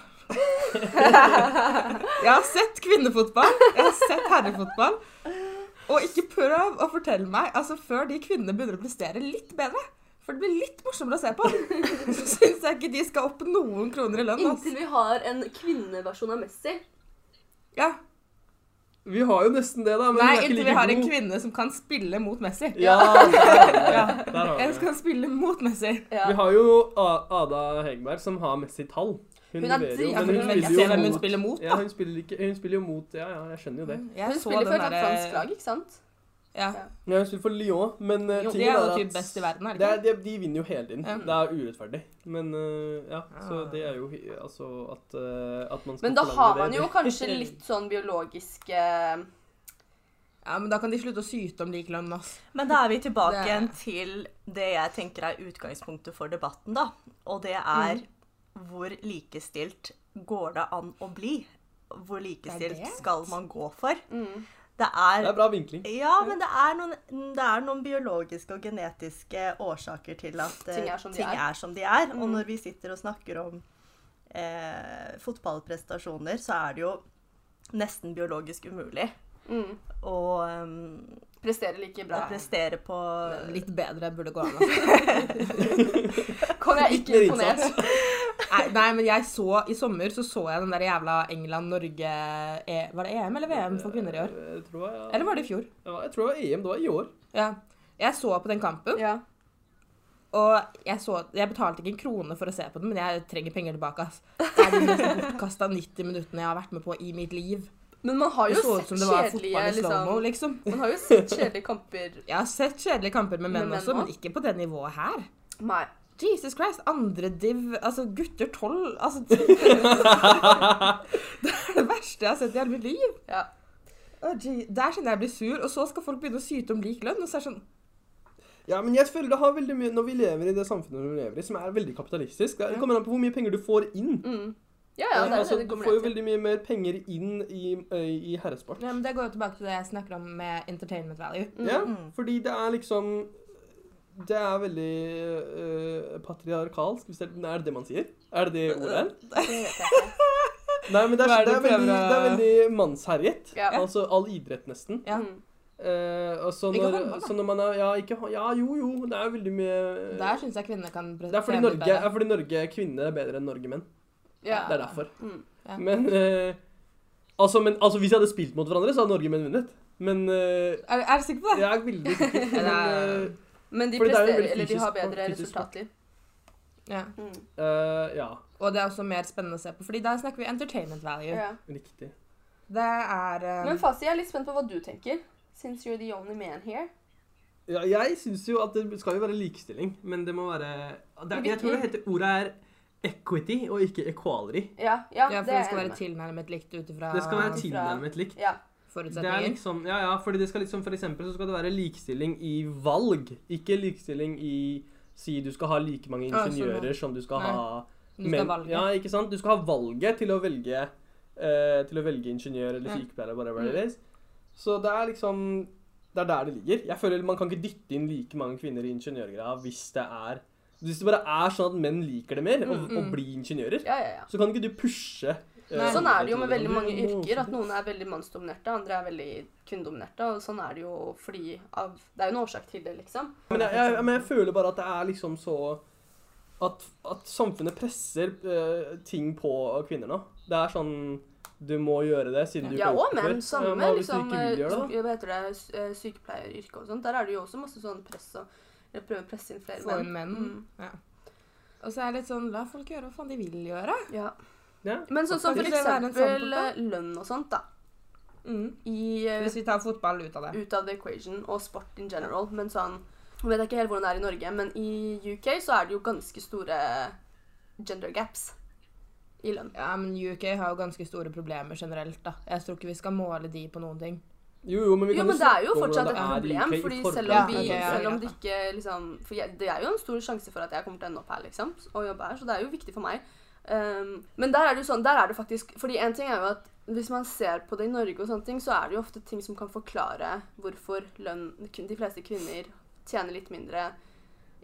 S1: jeg har sett kvinnefotball, jeg har sett herrefotball. Og ikke prøv å fortelle meg altså Før de kvinnene begynner å prestere litt bedre, for det blir litt morsommere å se
S2: (laughs)
S1: på, så syns jeg ikke de skal opp noen kroner i lønn. ass.
S2: Inntil vi har en kvinneversjon av Messi.
S1: Ja.
S3: Vi har jo nesten det, da. Men
S1: Nei,
S3: hun er ikke
S1: inntil
S3: like
S1: vi har en
S3: god.
S1: kvinne som kan spille mot Messi. (laughs)
S3: Ja, der har vi det. Der har vi
S1: Eller
S3: det.
S1: som kan spille mot Messi.
S2: Ja.
S3: Vi har jo A- Ada Hegerberg, som har Messi-tall.
S2: Hun er
S3: leverer
S2: dritgod.
S1: Ja, for
S3: men
S1: hun vil ikke se
S3: spiller jo
S1: hvem hun
S3: mot-
S1: spiller mot,
S3: Ja,
S1: da. Mm.
S3: hun spiller, ikke, hun spiller jo mot Ja, ja, jeg skjønner jo det.
S1: Jeg
S2: Hun
S1: så
S2: spiller for
S1: den
S2: et
S1: derre-
S2: fransk lag, ikke sant?
S1: Ja.
S2: Ja.
S3: Ja, hun spiller for Lyon, men eh,
S1: Jo,
S3: tingen
S1: de er jo
S3: at-
S1: typ best i verden, er de
S3: det er, de, de vinner jo hele tiden.
S1: Ja.
S3: Det er urettferdig. Men eh, ja, så
S1: Ah.
S3: det er jo hi- Altså at, eh, at man skal
S2: Men da
S3: forlange
S2: har
S3: det,
S2: man jo
S3: det-
S1: (laughs)
S2: kanskje litt sånn biologisk eh,
S1: ja, men da kan de slutte å syte om lik lønn, ass.
S4: Men da er vi tilbake
S1: Det-
S4: igjen til det jeg tenker er utgangspunktet for debatten, da. Og det er
S2: Mm.
S4: hvor likestilt går det an å bli? Hvor likestilt
S1: Det er det.
S4: skal man gå for?
S2: mm.
S4: Det er
S3: Det er bra vinkling.
S4: Ja, men det er, noen, det er noen biologiske og genetiske årsaker til at eh,
S2: Ting er som de
S4: ting
S2: er. Mm.
S4: er som de er. Og når vi sitter og snakker om eh, fotballprestasjoner, så er det jo nesten biologisk umulig
S2: Mm.
S4: å eh,
S2: Presterer like bra.
S4: prestere på
S1: Litt bedre burde gå an. altså. ass.
S2: (laughs) Kom, jeg er
S3: Litt
S2: ikke
S3: mer
S2: imponert.
S1: Nei, nei, men jeg så I sommer så så jeg den der jævla England-Norge E- Var det EM eller VM for kvinner i år?
S3: Eh, Jeg tror, jeg,
S1: Eller var det i fjor?
S3: Ja, jeg tror det var EM. Det var i år.
S1: Ja. Jeg så på den kampen,
S2: Ja.
S1: og jeg, så, jeg betalte ikke en krone for å se på den, men jeg trenger penger tilbake. ass. Det er de mest bortkasta 90 minuttene jeg har vært med på i mitt liv.
S2: Men man har
S1: Det
S2: jo
S1: så ut
S2: sett
S1: som det var
S2: kjedelige
S1: fotball i slow-mo,
S2: liksom,
S1: liksom.
S2: Man har jo sett kjedelige kamper.
S1: Jeg har sett kjedelige kamper med menn,
S2: Med menn
S1: også, men
S2: også?
S1: ikke på det nivået her.
S2: Nei.
S1: Jesus Christ, andre div Altså, gutter tolv
S3: (laughs)
S1: altså, Det er det verste jeg har sett i hele mitt liv.
S2: Ja.
S1: Å, gee, Der kjenner jeg blir sur, og så skal folk begynne å syte om lik lønn. Og så er det sånn
S3: Ja, men jeg føler det har veldig mye Når vi lever i det samfunnet vi lever i, som er veldig kapitalistisk Det kommer an på hvor mye penger du får inn.
S2: Mm. Ja, ja, det er
S3: altså,
S2: det det
S3: du
S2: kommer
S3: får jo
S2: ned til.
S3: veldig mye mer penger inn i, eh, i herresport.
S1: ja, men Det går jo tilbake til det jeg snakker om med entertainment value.
S3: Ja, fordi det er liksom Det er veldig eh, patriarkalsk, hvis det nei, er det det man sier? Er det det ordet er?
S2: Det vet jeg ikke.
S3: Nei, men det er,
S1: Eh, Hva er
S3: det
S1: det
S3: er,
S1: du
S3: veldig, det er
S1: prøver å-
S3: veldig mannsherjet.
S2: Ja.
S3: Altså all idrett, nesten.
S1: Ja.
S2: Mm.
S3: Eh, og så
S1: Ikke
S3: når,
S1: håndball, da.
S3: så når man er Ja, ikke, hå- ja, jo, jo. Det er veldig mye
S1: Der syns jeg kvinner kan
S3: Det er fordi
S1: tjene litt
S3: Norge,
S1: bedre.
S3: er fordi Norge kvinner er bedre enn Norge menn.
S2: Ja.
S3: Det er derfor.
S2: Mm.
S1: Ja.
S3: Men, eh, altså, men altså, hvis jeg hadde spilt mot hverandre, så hadde Norge menn vunnet. Men eh,
S1: Er, er du
S3: (laughs)
S1: sikker på det?
S3: jeg er veldig sikker.
S1: Ja, det
S3: Men,
S1: er-
S3: eh,
S2: Men de
S3: Fordi det er jo
S2: presterer,
S3: veldig
S2: eller de
S3: fysisk
S2: har
S3: sport,
S2: bedre
S3: fysisk sport.
S2: resultatliv.
S1: Ja.
S2: Mm.
S3: eh, ja,
S1: Og det er også mer spennende å se på, Fordi der snakker vi entertainment value.
S2: Ja.
S3: riktig.
S1: Det er eh,
S2: Men Fasi, jeg er litt spent på hva du tenker. Since you're the only man here.
S3: Ja, jeg syns jo at det skal jo være likestilling, men det må være det er, Jeg tror det heter ordet er equity og ikke equality.
S2: Ja, ja,
S1: Ja, for
S2: det
S1: det
S2: er
S1: skal
S2: jeg
S1: være
S2: enig med.
S1: tilnærmet likt ut Ah, ifra
S3: Det skal være tilnærmet likt.
S2: Ja.
S3: Det er
S1: forutsetninger.
S3: liksom, ja, ja, fordi det skal liksom, for eksempel så skal det være likestilling i valg, ikke likestilling i Si du skal ha like mange
S1: Ja, sånn, ja.
S3: ingeniører som du skal
S1: Nei,
S3: ha
S1: Du skal
S3: menn.
S1: valge.
S3: Ja, ikke sant? Du skal ha valget til å velge, eh, til å velge ingeniør eller
S1: Ja.
S3: sykepleier eller whatever it is. Så det er liksom Det er der det ligger. Jeg føler Man kan ikke dytte inn like mange kvinner i ingeniørgreia hvis det er Hvis det bare er sånn at menn liker det mer, å
S1: Mm,
S3: å
S1: mm.
S3: bli ingeniører.
S2: ja, ja, ja.
S3: Så kan ikke du pushe eh, Eh,
S2: Sånn er det jo med veldig mange
S3: Nå-
S2: yrker, at noen er veldig mannsdominerte, andre er veldig kvinnedominerte, og sånn er det jo fordi av Det er jo en årsak til det, liksom.
S3: Men jeg, jeg, men jeg føler bare at det er liksom så At, at samfunnet presser eh, ting på kvinner nå. Det er sånn Du må gjøre det siden du
S2: Ja,
S3: ikke
S2: og
S3: orker.
S2: menn. Samme
S3: Ja, hva
S2: med
S3: hvis du
S2: liksom,
S3: ikke vil gjøre det, da?
S2: eh, hva heter det, s- eh, sykepleieryrket og sånt. Der er det jo også masse sånn press og eller prøve å presse inn flere
S1: Få
S2: menn.
S1: inn menn.
S2: Mm.
S1: Ja. Og så er det litt sånn La folk gjøre hva faen de vil gjøre.
S2: Ja.
S3: Ja.
S2: Men sånn som for
S1: Kan ikke det være en sånn
S2: eksempel
S1: samtale?
S2: eh, lønn og sånt, da.
S1: Mm.
S2: I, eh,
S1: Hvis vi tar fotball ut av det.
S2: ut av the equation, og sport in general. Men sånn Nå vet jeg ikke helt hvordan det er i Norge, men i UK så er det jo ganske store gender gaps i lønn.
S1: Ja, men UK har jo ganske store problemer generelt, da. Jeg tror ikke vi skal måle de på noen ting.
S3: Jo, jo, men vi
S2: Jo,
S3: kan
S2: men det er jo fortsatt et
S3: hvordan det er i
S2: problem,
S3: UK i
S2: fordi
S3: forhold-
S2: selv
S1: Ja,
S2: om, vi,
S1: ok, ja,
S2: selv om
S1: ja.
S2: det ikke liksom For jeg, det er jo en stor sjanse for at jeg kommer til å ende opp her, liksom, og jobbe her, så det er jo viktig for meg. Um, men der er det jo sånn, der er det faktisk Fordi en ting er jo at hvis man ser på det i Norge og sånne ting, så er det jo ofte ting som kan forklare hvorfor lønn kun- De fleste kvinner tjener litt mindre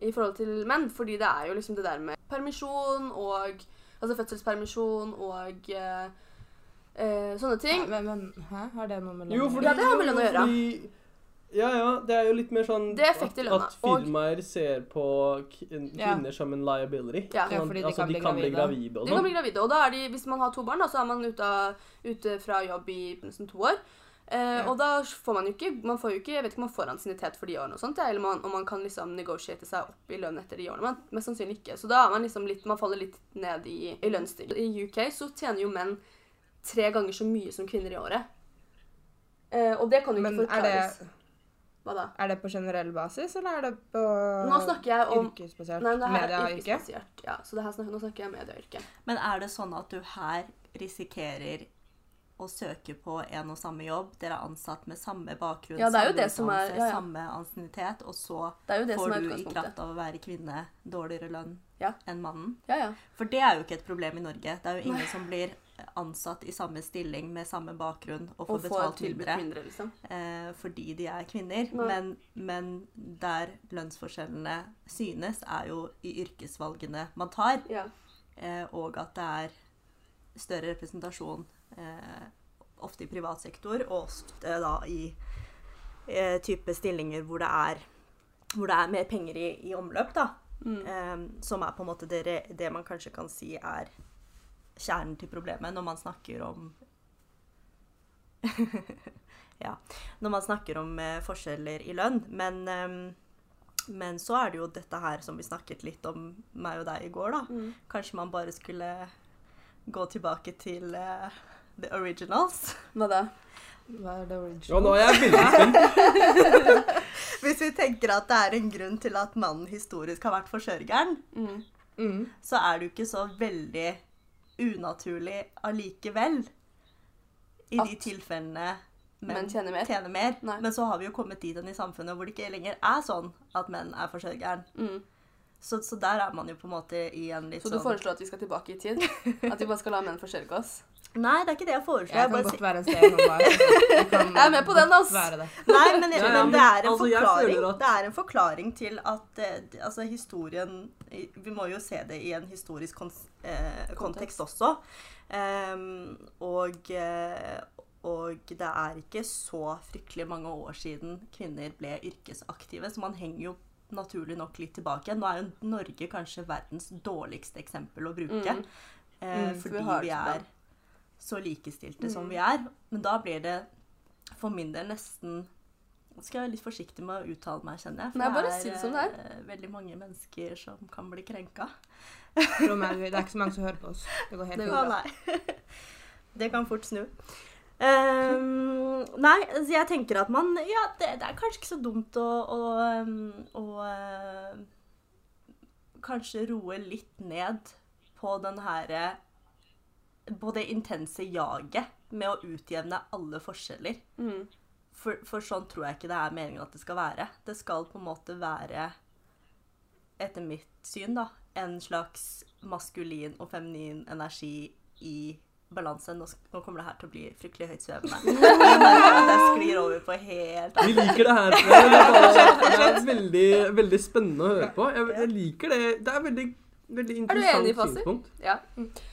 S2: i forhold til menn, fordi det er jo liksom det der med permisjon og Altså fødselspermisjon og eh, eh, sånne ting.
S1: Men, men hæ? har det noe med
S3: Jo,
S1: å
S3: fordi,
S1: gjøre?
S2: Ja, det har med lønn å gjøre.
S3: fordi- Ja, ja, det er jo litt mer sånn
S2: Det er effekt i
S3: at-
S2: lønna,
S3: At
S2: og-
S3: firmaer ser på k-
S1: Ja.
S3: kvinner som en liability.
S2: Ja.
S3: Sånn
S1: Ja,
S3: at-
S1: fordi de
S3: altså,
S1: kan
S3: de
S1: bli
S3: kan bli
S1: gravide.
S3: gravide og
S2: De kan bli
S3: sånn.
S2: gravide, og da er de, hvis man har to barn, da, så er man ute, av- ute fra jobb i nesten to år. Eh,
S1: Ja.
S2: Og da får man jo ikke man får jo ikke, Jeg vet ikke om man får ansiennitet for de årene, og sånt, ja, eller man, om man kan liksom negotiate seg opp i lønn etter de årene. Men mest sannsynlig ikke. Så da er man liksom litt, man faller litt ned i, i lønnsstig. I UK så tjener jo menn tre ganger så mye som kvinner i året. Eh, og det kan jo
S1: Men
S2: ikke
S1: er det,
S2: forklares. Hva da?
S1: er det på generell basis, eller er det på
S2: Nå snakker jeg om
S1: yrkesbasert?
S2: Nei, men det her er
S1: Medieyrke?
S2: yrkesbasert. Ja, så det her snakker, nå snakker jeg medieyrke.
S4: Men er det sånn at du her risikerer å søke på en og samme jobb? Dere er ansatt med samme bakgrunn,
S2: Ja, det er jo
S4: samme
S2: det som er-
S4: utdannelse,
S2: ja, ja.
S4: samme ansiennitet, og så
S2: Det er jo det som
S4: får
S2: er
S4: du i
S2: utgangspunktet.
S4: kraft av å være kvinne dårligere lønn
S2: Ja.
S4: enn mannen?
S2: Ja, ja.
S4: For det er jo ikke et problem i Norge. Det er jo ingen som blir ansatt i samme stilling med samme bakgrunn og får
S2: Og får
S4: betalt
S2: tilbudt
S4: mindre
S2: mindre, liksom.
S4: eh, fordi de er kvinner.
S2: Nei.
S4: Men, men der lønnsforskjellene synes, er jo i yrkesvalgene man tar,
S2: Ja.
S4: eh, og at det er større representasjon eh, ofte i privat sektor, og ofte da i eh, type stillinger hvor det er, hvor det er mer penger i, i omløp, da.
S2: Mm.
S4: Eh, som er på en måte det, re- det man kanskje kan si er kjernen til problemet når man snakker om (laughs) Ja. Når man snakker om eh, forskjeller i lønn. Men, eh, men så er det jo dette her som vi snakket litt om meg og deg i går, da. Kanskje man bare skulle gå tilbake til eh, the originals. (laughs)
S2: Hva da?
S1: Hva er det
S3: Ja,
S1: original?
S3: nå er jeg veldig spent.
S4: Hvis vi tenker at det er en grunn til at mannen historisk har vært forsørgeren,
S2: Mm.
S1: Mm.
S4: så er det jo ikke så veldig unaturlig allikevel. I de
S2: At
S4: tilfellene menn
S2: menn tjener mer.
S4: tjener mer.
S2: Nei.
S4: Men så har vi jo kommet dit hen i samfunnet hvor det ikke lenger er sånn at menn er forsørgeren.
S2: Mm.
S4: Så, så der er man jo på en måte i en litt
S2: Så du
S4: sånn
S2: foreslår at vi skal tilbake
S4: (laughs)
S2: i tid? At vi bare skal la menn forsørge oss?
S4: Nei, det er ikke det jeg foreslår.
S1: Jeg
S4: Jeg
S1: kan
S4: bare
S1: godt være en steg nå,
S2: (laughs)
S1: bare. Jeg, kan
S2: Jeg er med på den, ass.
S1: Være det.
S4: sier- Nei, men,
S3: Ja, ja,
S4: men det
S3: men
S4: er en
S3: altså, jeg
S4: forklaring.
S3: føler at-
S4: Det er en forklaring til at eh, d- altså, historien Vi må jo se det i en historisk kons eh, kontekst også. Ehm, og eh, og det er ikke så fryktelig mange år siden kvinner ble yrkesaktive, så man henger jo naturlig nok litt tilbake. Nå er jo Norge kanskje verdens dårligste eksempel å bruke.
S2: Mm.
S4: eh,
S2: for vi Mm.
S4: fordi
S2: har
S4: vi
S2: ikke
S4: er så likestilte som vi er. Men da blir det for min del nesten Nå skal jeg være litt forsiktig med å uttale meg, kjenner jeg. For
S2: Nei, bare si det som det
S4: eh, veldig mange mennesker som kan bli krenka.
S1: Tro meg, det er ikke så mange som hører på oss. Det går helt
S2: Det
S1: fint.
S2: går
S4: Å, nei. (laughs) det kan fort snu. Ehm, nei, så jeg tenker at man Ja, det, det er kanskje ikke så dumt å, å, ehm, å ehm, Kanskje roe litt ned på den herre På det intense jaget med å utjevne alle forskjeller.
S2: Mm.
S4: For, for sånn tror jeg ikke det er meningen at det skal være. Det skal på en måte være, etter mitt syn, da, en slags maskulin og feminin energi i balanse. Nå, sk- nå kommer det her til å bli fryktelig høytsvevende. Jeg merker at jeg sklir over på helt
S3: Vi liker det
S2: (laughs)
S3: her. Det er, bare, det er veldig, veldig spennende å høre på. Jeg, jeg liker det. Det er veldig Veldig
S2: Er du
S3: interessant
S2: enig, Fasil?
S3: synspunkt.
S2: Ja.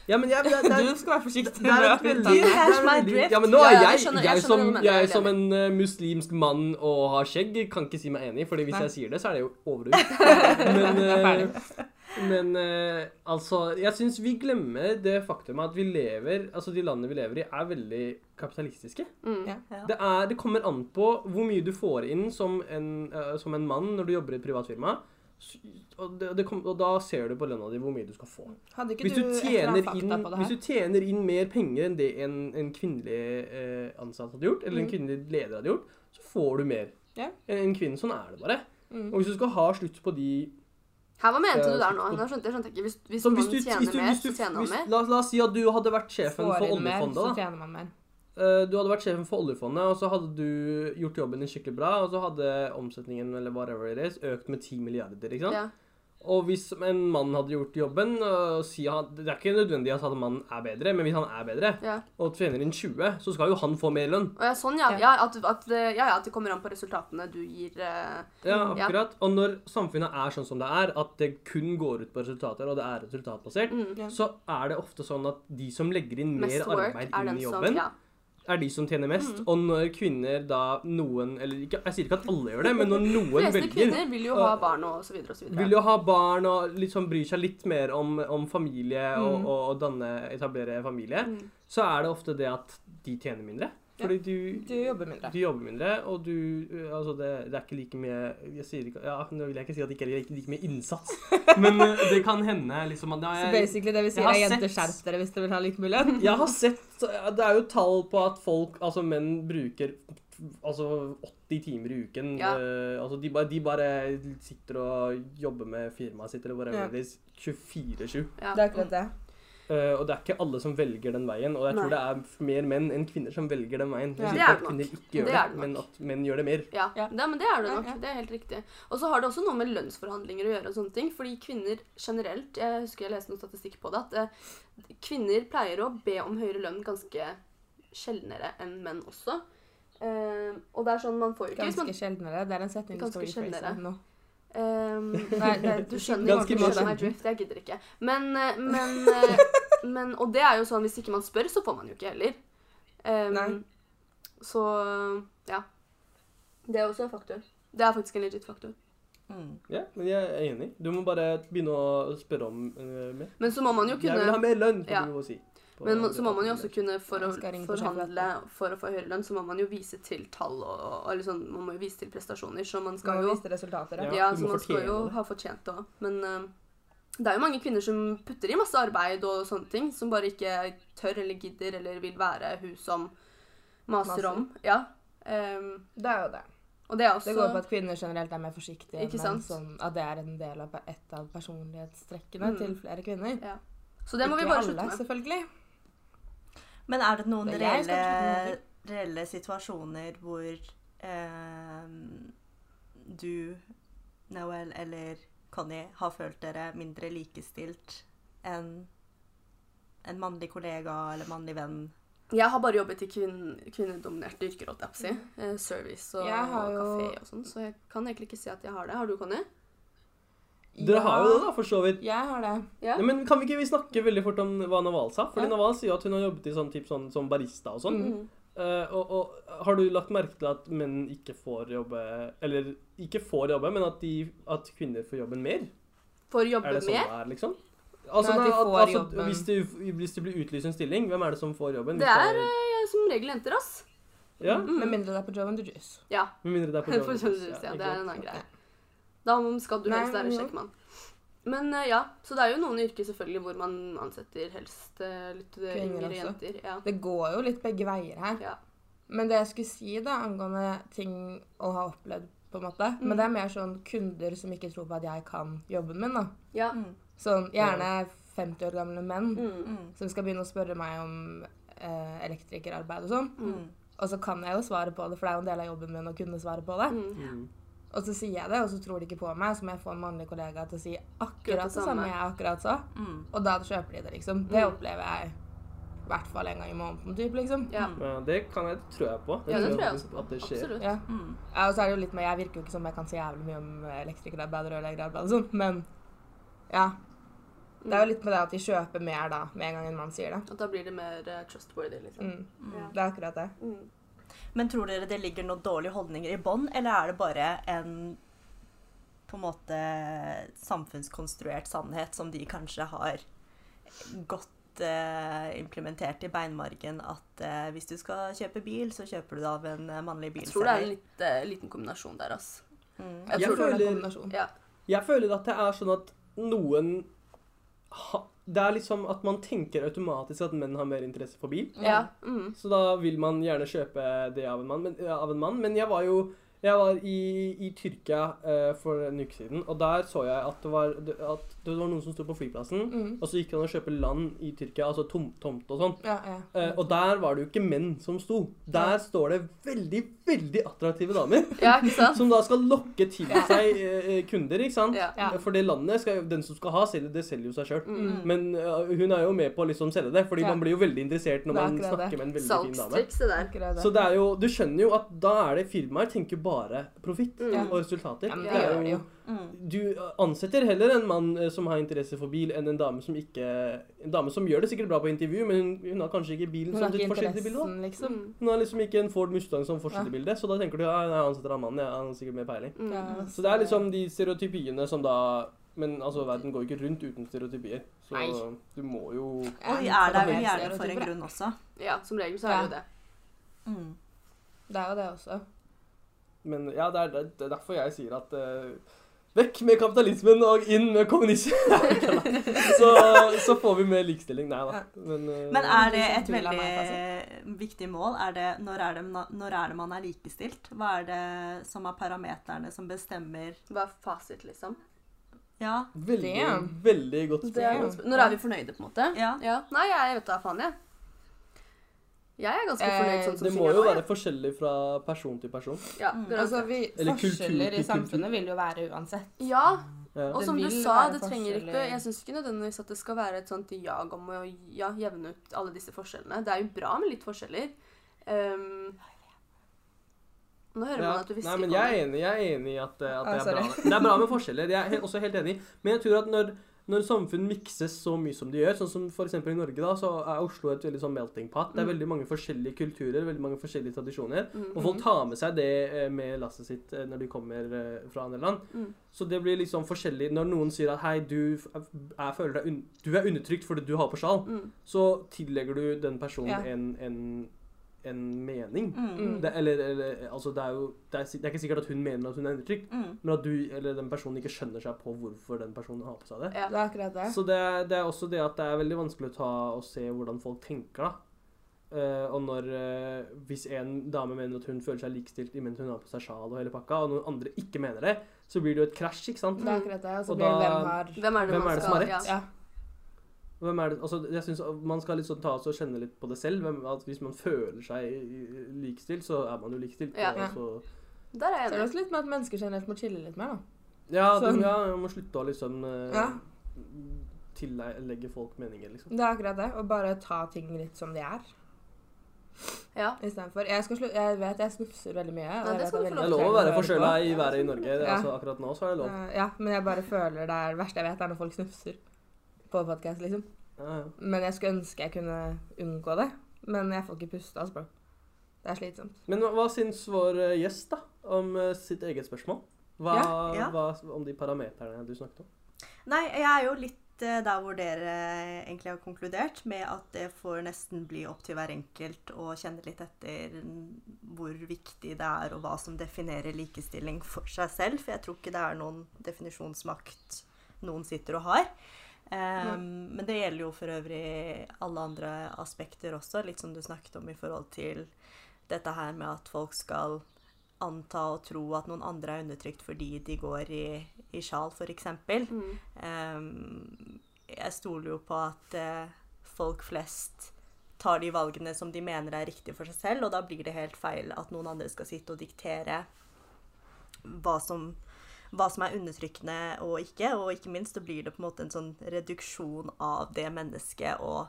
S3: Ja, men jeg, det, det,
S1: Du skal være forsiktig.
S3: det er et
S1: med å
S3: veldig
S1: uttale deg.
S4: You has
S3: det er
S4: my
S3: veldig-
S4: drift.
S3: Ja, men nå
S2: Ja, ja,
S3: er jeg,
S2: jeg skjønner- jeg
S3: jeg,
S2: skjønner
S3: som,
S2: hva du mener, jeg
S3: jeg
S2: er
S3: som en eh, muslimsk mann og har skjegg, kan ikke si meg enig, Fordi hvis
S1: Nei.
S3: jeg sier det, så er det jo overdrevet. Men,
S1: Jeg er ferdig.
S3: eh, men eh, altså Jeg syns vi glemmer det faktum at vi lever Altså, de landene vi lever i, er veldig kapitalistiske.
S2: Mm.
S1: Ja.
S4: Ja.
S3: Det, er, det kommer an på hvor mye du får inn som en, eh, som en mann når du jobber i et privat firma. S- Og, det, det kom, og da ser du på lønna di hvor mye du skal få.
S1: Hadde ikke
S3: Hvis
S1: du, et
S3: du,
S1: eller
S3: tjener
S1: annet fakta
S3: inn,
S1: på det
S3: hvis
S1: her?
S3: du tjener inn mer penger enn det en, en kvinnelig eh, ansatt hadde gjort, eller en
S1: Mm.
S3: kvinnelig leder hadde gjort, så får du mer
S1: Ja.
S3: enn en kvinne. Sånn er det bare.
S1: Mm.
S3: Og hvis du skal ha slutt på de
S2: Her, hva mente
S3: Eh,
S2: du der nå? nå skjønte, jeg skjønte ikke. Hvis, hvis
S3: Sånn,
S2: man tjener mer,
S3: hvis du-
S2: så tjener man
S3: hvis-
S2: mer.
S3: la, la oss si at du hadde vært sjefen
S1: Får
S3: for
S1: inn mer,
S3: oljefondet.
S1: så
S3: da.
S1: tjener man mer.
S3: Eh, Du hadde vært sjefen for oljefondet, og så hadde du gjort jobben din skikkelig bra, og så hadde omsetningen eller whatever it is, økt med 10 milliarder. ikke sant?
S2: Ja.
S3: Og hvis en mann hadde gjort jobben eh, og si han, Det er ikke nødvendig at han- mannen er bedre, men hvis han er bedre
S2: Ja.
S3: og tjener inn 20, så skal jo han få mer lønn.
S2: Og ja, sånn, ja.
S1: Ja.
S2: Ja, at, at, eh, ja, ja. At det kommer an på resultatene du gir. eh, Ja.
S3: Ja, akkurat. Og når samfunnet er sånn som det er, at det kun går ut på resultater, og det er resultatbasert,
S2: Mm.
S1: Ja.
S3: så er det ofte sånn at de som legger inn mer
S2: Mest work
S3: arbeid
S2: er
S3: inn
S2: den
S3: i
S2: som
S3: jobben,
S2: ja. Mm.
S3: er de som tjener mest. Og når kvinner da noen Eller ikke, jeg sier ikke at alle gjør det, men
S2: (laughs)
S3: når noen
S2: fleste
S3: velger
S2: kvinner vil jo ha
S3: og-
S2: barn og så videre og så
S3: Vil
S2: videre.
S3: jo ha barn og liksom bryr seg litt mer om, om familie og,
S1: Mm.
S3: og, og danne, etablere familie,
S2: Mm.
S3: så er det ofte det at de tjener mindre. Fordi du,
S1: Du jobber mindre.
S3: du jobber mindre, og du eh, Altså, det, det er ikke like mye jeg sier ikke, ja, Nå vil jeg ikke si at det ikke er like, like mye
S2: (laughs)
S3: innsats, men eh, det kan hende liksom
S1: Så
S3: at det er,
S1: basically det vi sier
S3: har
S1: er jenter,
S3: sett-
S1: skjerp dere hvis dere vil ha litt mulighet.
S3: Jeg har sett Det er jo tall på at folk, altså menn, bruker altså 80 timer i uken.
S2: Ja.
S3: eh, altså de, bare, de bare sitter og jobber med firmaet sitt eller
S1: Ja.
S3: whatever it is 24-7.
S2: Ja.
S1: Det er akkurat det.
S3: Eh, og det er ikke alle som velger den veien. Og jeg
S2: Nei.
S3: tror det er mer menn enn kvinner som velger den veien.
S1: Ja.
S2: Det
S3: Jeg
S2: er
S3: sier ikke at
S2: det nok.
S3: kvinner ikke gjør
S2: Det
S3: det,
S2: er det nok.
S3: men at menn gjør det mer.
S2: Ja,
S1: Ja.
S2: Det, men det er det
S1: Ja,
S2: nok.
S1: ja.
S2: Det er helt riktig. Og så har det også noe med lønnsforhandlinger å gjøre. og sånne ting, Fordi kvinner generelt Jeg husker jeg leste noe statistikk på det. At eh, kvinner pleier å be om høyere lønn ganske sjeldnere enn menn også. Eh, og det er sånn man får jo ikke hvis man,
S1: Ganske sjeldnere. Det er en setning du
S2: Ganske
S1: skal rephrase
S2: sjeldnere.
S1: nå.
S2: Ehm, nei, nei, du skjønner
S3: Ganske
S2: ikke
S3: mye
S2: hvordan jeg
S3: sjelden.
S2: drift, jeg gidder ikke. Men, eh, men, eh, (laughs) men Og det er jo sånn, hvis ikke man spør, så får man jo ikke heller. Ehm,
S1: Nei.
S2: Så ja. Det er også en faktor. Det er faktisk en legit faktor.
S4: Mm.
S3: Ja, men jeg er enig. Du må bare begynne å spørre om eh, mer.
S2: Men så må man jo
S3: Jeg vil ha
S2: kunne
S3: mer lønn, får
S2: Ja.
S3: du jo si. På-
S2: men må- så må man jo også kunne for å
S1: Jeg skal ringe på
S2: forhandle for å få høyere lønn, så må man jo vise til tall og, og eller sånn, man må jo vise til prestasjoner, så man skal
S1: Nå
S2: jo
S1: viste resultater.
S3: Ja.
S1: Ja.
S2: Ja,
S3: du
S2: så
S3: må
S2: man skal
S3: fortjene
S2: jo
S3: det.
S2: ha fortjent det òg. Men eh, det er jo mange kvinner som putter i masse arbeid og sånne ting, som bare ikke tør eller gidder eller vil være hun som maser,
S1: Maser.
S2: om. Ja. Ehm,
S1: Det er jo det.
S2: og det er
S1: Det går på
S2: også
S1: at kvinner generelt er mer forsiktige.
S2: Ikke
S1: men
S2: sant?
S1: sånn at det er en del av et av personlighetstrekkene
S2: Mm.
S1: til flere kvinner.
S2: Så det må vi
S1: Ikke
S2: bare
S1: alle,
S2: slutte med.
S1: selvfølgelig.
S4: Men er det noen
S1: Det er jeg som
S4: reelle, reelle situasjoner hvor eh, du, Noel eller Connie, har følt dere mindre likestilt enn en mannlig kollega eller mannlig venn?
S2: Jeg har bare jobbet i kvinn, kvinnedominerte yrker, holdt jeg på å si. Eh, Service og,
S1: Jeg har
S2: og
S1: jo-
S2: kafé og sånn, så jeg kan egentlig ikke si at jeg har det. Har du, Conny?
S3: Dere har jo det, da, for så vidt.
S1: Jeg har det.
S2: Ja.
S3: Nei, men kan vi ikke vi snakke veldig fort om hva Naval sa? Fordi
S1: Ja.
S3: Naval sier jo at hun har jobbet i sånn, typ, sånn som barista og sånn.
S2: Mm.
S3: Eh, og, og har du lagt merke til at menn ikke får jobbe Eller ikke får jobbe, men at, de, at kvinner får jobben mer?
S2: For å
S3: Er
S2: jobbe
S3: det sånn
S2: med.
S3: det er, liksom? Altså,
S1: Nei, at de
S3: nei, at-
S1: får
S3: altså,
S1: jobben.
S3: hvis, du, hvis du blir utlyst en stilling, hvem er det som får jobben?
S2: Det
S3: Hvis
S2: er eh, som regel jenter, ass.
S3: Ja,
S2: Mm.
S1: Med mindre det er på Joe and the Juice.
S2: Ja.
S3: Med mindre det er på
S2: (laughs) For
S3: jobb.
S2: kjønnsdysfori, ja,
S3: ikke
S2: det er
S3: sant?
S2: en annen greie. Da skal du
S1: Nei,
S2: helst være
S1: men jo.
S2: sjekkmann. Men eh, ja, så det er jo noen yrker selvfølgelig hvor man ansetter helst eh, litt eh,
S1: Kvinner
S2: yngre
S1: også.
S2: jenter. Ja.
S1: Det går jo litt begge veier her.
S2: Ja.
S1: Men det jeg skulle si da, angående ting å ha opplevd, på en måte
S2: Mm.
S1: Men det er mer sånn kunder som ikke tror på at jeg kan jobben min, da.
S2: ja.
S4: Mm,
S1: Sånn gjerne 50 år gamle menn
S2: Mm.
S1: som skal begynne å spørre meg om eh, elektrikerarbeid og sånn.
S4: Mm.
S1: Og så kan jeg jo svare på det, for det er jo en del av jobben min å kunne svare på det.
S2: Mm.
S3: Mm.
S1: Og så sier jeg det, og så tror de ikke på meg, så må jeg få en mannlig kollega til å si akkurat det
S2: samme.
S1: samme jeg akkurat sa.
S4: Mm.
S1: Og da kjøper de det, liksom. Det
S2: Mm.
S1: opplever jeg i hvert fall en gang i måneden, typ, liksom.
S2: ja.
S4: mm,
S3: Ja, det kan jeg, tror jeg på.
S2: Ja, det tror jeg
S3: faktisk at det skjer.
S2: Absolutt.
S1: Ja.
S4: Mm.
S1: Ja, og så er det jo litt med, Jeg virker jo ikke som jeg kan så jævlig mye om elektrikerarbeid og rørleggerarbeid og sånt, men sånn, ja. Det er jo litt med det at de kjøper mer da, med en gang en mann sier det.
S2: Og Mm. da blir det mer eh, trustworthy, liksom.
S1: Mm.
S4: Ja.
S1: Det er akkurat det.
S2: Mm.
S4: Men tror dere det ligger noen dårlige holdninger i bånn, eller er det bare en på en måte samfunnskonstruert sannhet som de kanskje har godt eh, implementert i beinmargen at eh, hvis du skal kjøpe bil, så kjøper du det av en eh, mannlig
S2: Jeg tror det er en
S4: bilselger.
S2: litt, eh, liten kombinasjon der, ass.
S4: Mm.
S2: Jeg
S3: Jeg
S2: tror
S3: (laughs)
S1: det er en
S3: føler-
S1: kombinasjon.
S2: Ja.
S3: Jeg føler at det er sånn at noen ha, Det er liksom at man tenker automatisk at menn har mer interesse for bil.
S2: ja. Mm.
S3: Så da vil man gjerne kjøpe det av en mann. Men, ja, av en mann. men jeg var jo jeg var i, i Tyrkia eh, for en uke siden, og der så jeg at det var, at det var noen som sto på flyplassen.
S1: Mm.
S3: Og så gikk han og kjøpte land i Tyrkia, altså tom, tomt og sånn.
S1: Ja, ja.
S3: Eh, og der var det jo ikke menn som sto. Der står det veldig, veldig attraktive damer
S2: ja, ikke sant?
S3: som da skal lokke til seg eh, kunder, ikke sant?
S2: Ja.
S1: Ja.
S3: For det landet, skal, jo- den som skal ha, selger, det selger jo seg sjøl.
S2: Mm.
S3: Men eh, hun er jo med på å liksom selge det, fordi
S1: Ja.
S3: man blir jo veldig interessert når
S1: Det er
S3: man
S1: akkurat det.
S3: snakker med en (laughs) veldig fin dame.
S2: Salgstriks, det der.
S1: Akkurat
S3: Så det er jo, du skjønner jo at da er det firmaer tenker bare profitt
S2: Mm.
S3: og resultater.
S1: Ja, men
S2: det
S3: er
S1: gjør de jo.
S4: Mm.
S3: Du ansetter heller en mann eh, som har interesse for bil, enn en dame som ikke En dame som gjør det sikkert bra på intervju, men hun, hun har kanskje ikke bilen
S1: Hun har
S3: som sitt
S1: ikke
S3: forsidebilde.
S1: interessen, liksom.
S2: Mm.
S3: Hun har liksom ikke en Ford Mustang som forsidebilde, så da tenker du ja, jeg ansetter han mannen, ja, han har sikkert mer peiling.
S2: Mm.
S1: Ja.
S3: Så det er liksom de stereotypiene som da Men altså, verden går jo ikke rundt uten stereotypier, så
S1: Nei.
S3: du må jo
S4: Og vi er der
S1: det
S4: vel
S1: er
S4: gjerne for en
S1: stereotyper,
S4: grunn også.
S2: ja, som regel så er det jo det.
S4: Mm.
S1: Det er jo det også.
S3: Men ja, det er, det er derfor jeg sier at eh, Vekk med kapitalismen og inn med (laughs) kommunismen! så, så får vi mer likestilling. Nei da. Men, eh,
S4: Men er det et
S1: Tull av
S4: veldig
S1: meg,
S4: viktig mål? Er det, når, er det, når er det man er likestilt? Hva er det som er parameterne som bestemmer
S2: Hva er fasit, liksom?
S4: Ja,
S3: veldig,
S1: Damn.
S3: veldig godt
S1: Det er
S3: spørsmål.
S1: jo-
S2: Når er vi fornøyde, på en måte?
S4: Ja.
S2: Nei, jeg vet da faen, jeg. Jeg er ganske
S1: Eh,
S2: fornøyd sånn som
S3: Det må jo
S2: nå, jeg.
S3: være forskjellig fra person til person.
S2: Ja,
S1: Altså,
S2: garantert.
S1: vi,
S3: Eller kultur-
S1: forskjeller i
S3: kultur-
S1: samfunnet vil jo være uansett.
S2: ja,
S3: Ja.
S2: og
S1: Det
S2: som du
S1: vil
S2: sa,
S1: være
S2: det trenger ikke
S1: forskjeller.
S2: Jeg syns ikke nødvendigvis at det skal være et sånt jag om å ja, jevne ut alle disse forskjellene. Det er jo bra med litt forskjeller. Ehm, nå hører
S3: Ja.
S2: man at du hvisker.
S3: Nei, men
S2: på
S3: jeg
S2: meg.
S3: er enig, jeg er enig i at, eh, at
S1: Ah,
S3: det, er
S1: sorry.
S3: bra. med- det er bra med forskjeller. Jeg er he- også helt enig. Men jeg tror at når, når samfunn mikses så mye som de gjør, sånn som f.eks. i Norge, da, så er Oslo et veldig sånn melting pot. Det er
S2: Mm.
S3: veldig mange forskjellige kulturer, veldig mange forskjellige tradisjoner. Og folk tar med seg det eh, med lasset sitt eh, når de kommer eh, fra andre land.
S2: Mm.
S3: Så det blir liksom forskjellig når noen sier at hei, du, f- jeg føler deg un du er undertrykt fordi du har på sjal,
S2: Mm.
S3: så tillegger du den personen
S1: Ja.
S3: en, en, en mening.
S4: Mm.
S3: Det, eller, eller, altså det, er jo, det, er, si- det er ikke sikkert at hun mener at hun er undertrykt,
S4: Mm.
S3: men at du eller den personen ikke skjønner seg på hvorfor den personen har på seg det.
S1: Det er akkurat det.
S3: Så det, er- det er også det at det er veldig vanskelig å ta og se hvordan folk tenker, da. Eh, og når eh, Hvis en dame mener at hun føler seg likestilt i mens hun har på seg sjal og hele pakka, og noen andre ikke mener det, så blir det jo et krasj, ikke sant?
S1: Det er akkurat det. Og
S3: Og
S1: så blir det
S3: da-
S1: hvem har
S2: Hvem er det,
S3: Hvem
S2: man
S3: er det
S2: skal,
S3: som har
S2: Ja.
S1: Ja.
S3: Hvem er det, altså, jeg synes Man skal litt sånn ta oss og kjenne litt på det selv. Hvem, at hvis man føler seg eh, likestilt, så er man jo likestilt.
S2: Ja.
S3: og så-
S2: Der er
S1: Så er det
S2: jeg enig.
S1: også litt med at mennesker generelt må chille litt mer, da.
S3: Ja, du,
S1: Sånn.
S3: ja, jeg må slutte å liksom eh,
S1: Ja.
S3: tillegge folk meninger, liksom.
S1: Det er akkurat det. Og bare ta ting litt som de er.
S2: Ja.
S1: Istedenfor Jeg, skal slu- jeg vet jeg snufser veldig mye. og
S2: Nei, det
S1: jeg vet
S2: skal
S1: at
S2: du få
S1: veldig
S3: Det
S2: lov
S3: er
S2: til.
S3: lov å
S1: mange
S3: være
S1: hører
S3: forkjøla
S1: på.
S3: i været i Norge. Det er
S1: Ja.
S3: Altså, akkurat nå så er det lov.
S1: Eh, Ja, men jeg bare føler det er det verste jeg vet, er når folk snufser på podkast, liksom.
S3: Ja, ja.
S1: Men jeg skulle ønske jeg kunne unngå det. Men jeg får ikke puste av språk. Det er slitsomt.
S3: Men hva- hva syns vår eh, gjest da, om eh, sitt eget spørsmål? Hva,
S4: Ja, ja.
S3: hva om de parameterne du snakket om?
S4: Nei, jeg er jo litt eh, der hvor dere eh, egentlig har konkludert, med at det får nesten bli opp til hver enkelt å kjenne litt etter hvor viktig det er, og hva som definerer likestilling for seg selv. For jeg tror ikke det er noen definisjonsmakt noen sitter og har. Ehm, Men det gjelder jo for øvrig alle andre aspekter også, litt som du snakket om i forhold til dette her med at folk skal anta og tro at noen andre er undertrykt fordi de går i, i sjal, f.eks.
S2: Mm.
S4: Ehm, jeg stoler jo på at eh, folk flest tar de valgene som de mener er riktige for seg selv, og da blir det helt feil at noen andre skal sitte og diktere hva som, hva som er undertrykkende og ikke, og ikke minst så blir det på en måte en sånn reduksjon av det mennesket og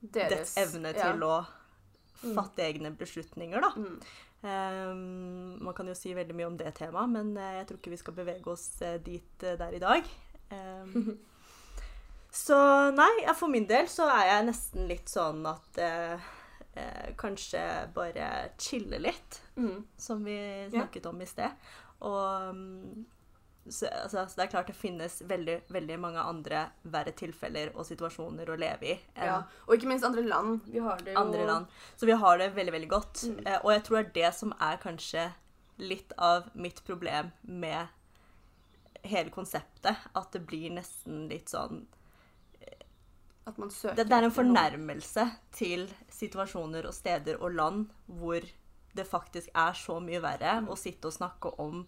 S4: dets evne til å fatte egne beslutninger, da.
S2: Mm.
S4: Ehm, man kan jo si veldig mye om det temaet, men eh, jeg tror ikke vi skal bevege oss eh, dit eh, der i dag. Ehm, Så nei, ja, for min del så er jeg nesten litt sånn at eh, eh, Kanskje bare chille litt,
S2: Mm.
S4: som vi snakket om i sted. Og mm, så, altså, så det er klart det finnes veldig, veldig mange andre verre tilfeller og situasjoner å leve i enn
S2: Ja. Og ikke minst andre land. Vi har det jo
S4: andre land. Så vi har det veldig, veldig godt.
S2: Mm.
S4: Eh, og jeg tror det er det som er kanskje litt av mitt problem med hele konseptet. At det blir nesten litt sånn
S2: At man søker
S4: Det, det er
S2: etter
S4: en
S2: noe.
S4: fornærmelse til situasjoner og steder og land hvor det faktisk er så mye verre å sitte og snakke om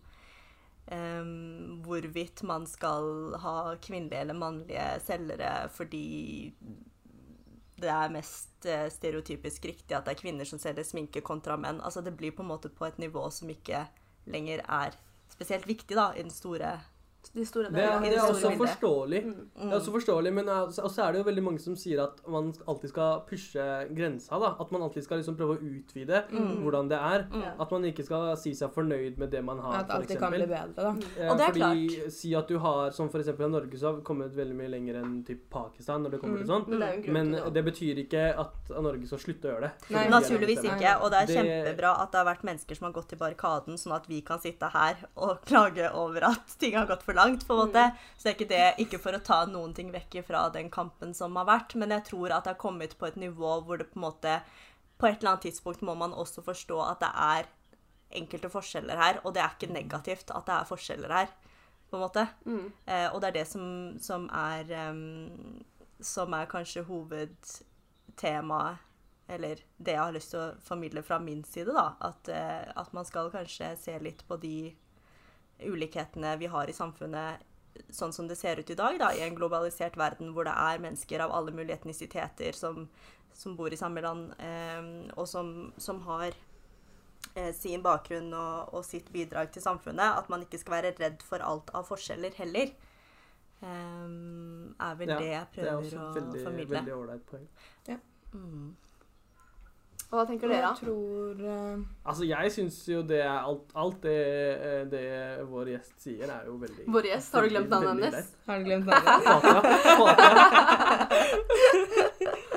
S4: em, hvorvidt man skal ha kvinnelige eller mannlige selgere fordi det er mest eh, stereotypisk riktig at det er kvinner som selger sminke kontra menn. Altså det blir på en måte på et nivå som ikke lenger er spesielt viktig da, i den store
S2: De store
S3: Det er,
S2: delene.
S3: det er også
S4: bildet.
S3: forståelig.
S2: Mm.
S3: Det er også forståelig, men eh, så- og så er det jo veldig mange som sier at man alltid skal pushe grensa. da. At man alltid skal liksom prøve å utvide
S1: Mm.
S3: Mm. hvordan Mm. det er.
S2: Mm. Ja.
S3: At man ikke skal si seg fornøyd med det man har,
S1: At alt det kan bli bedre, da.
S3: Eh,
S4: Og det er
S3: Fordi Si at du har, som for eksempel i Norge, så har vi kommet veldig mye lenger enn typ Pakistan når det kommer til
S4: Mm.
S3: sånn.
S2: Men det er jo en grunn
S3: Men
S2: til det.
S3: det betyr ikke at Norge skal slutte å gjøre det.
S1: Nei.
S4: Naturligvis
S1: Nei.
S4: ikke, og det er
S3: Det-
S4: kjempebra at det har vært mennesker som har gått i barrikaden, sånn at vi kan sitte her og (laughs) klage over at ting har gått for langt, på en måte. Så det er ikke det, ikke for å ta noen ting vekk fra den kampen som har vært, men jeg tror at det har kommet på et nivå hvor det på en måte På et eller annet tidspunkt må man også forstå at det er enkelte forskjeller her, og det er ikke negativt at det er forskjeller her, på en måte.
S2: Mm.
S4: Eh, og det er det som, som er ehm, em, Som er kanskje hovedtemaet, eller det jeg har lyst til å formidle fra min side, da. At, eh, at man skal kanskje se litt på de ulikhetene vi har i samfunnet sånn som det ser ut i dag, da, i en globalisert verden hvor det er mennesker av alle mulige etnisiteter som, som bor i samme land, em, og som, som har eh, sin bakgrunn og, og sitt bidrag til samfunnet. At man ikke skal være redd for alt av forskjeller heller. Em, er vel
S3: Ja,
S4: det jeg
S3: Det er
S4: prøver
S3: også
S4: å
S3: veldig,
S4: formidle.
S3: veldig ålreit poeng.
S4: Mm.
S2: Og hva tenker dere,
S1: Jeg
S2: da?
S1: tror eh,
S3: Altså, jeg syns jo det er alt, alt det, eh, det vår gjest sier, er jo veldig
S2: Vår gjest, har du glemt
S3: veldig-
S2: navnet
S3: veldig
S2: hennes?
S1: Har du glemt navnet?
S3: greit. Fatia. Fatia,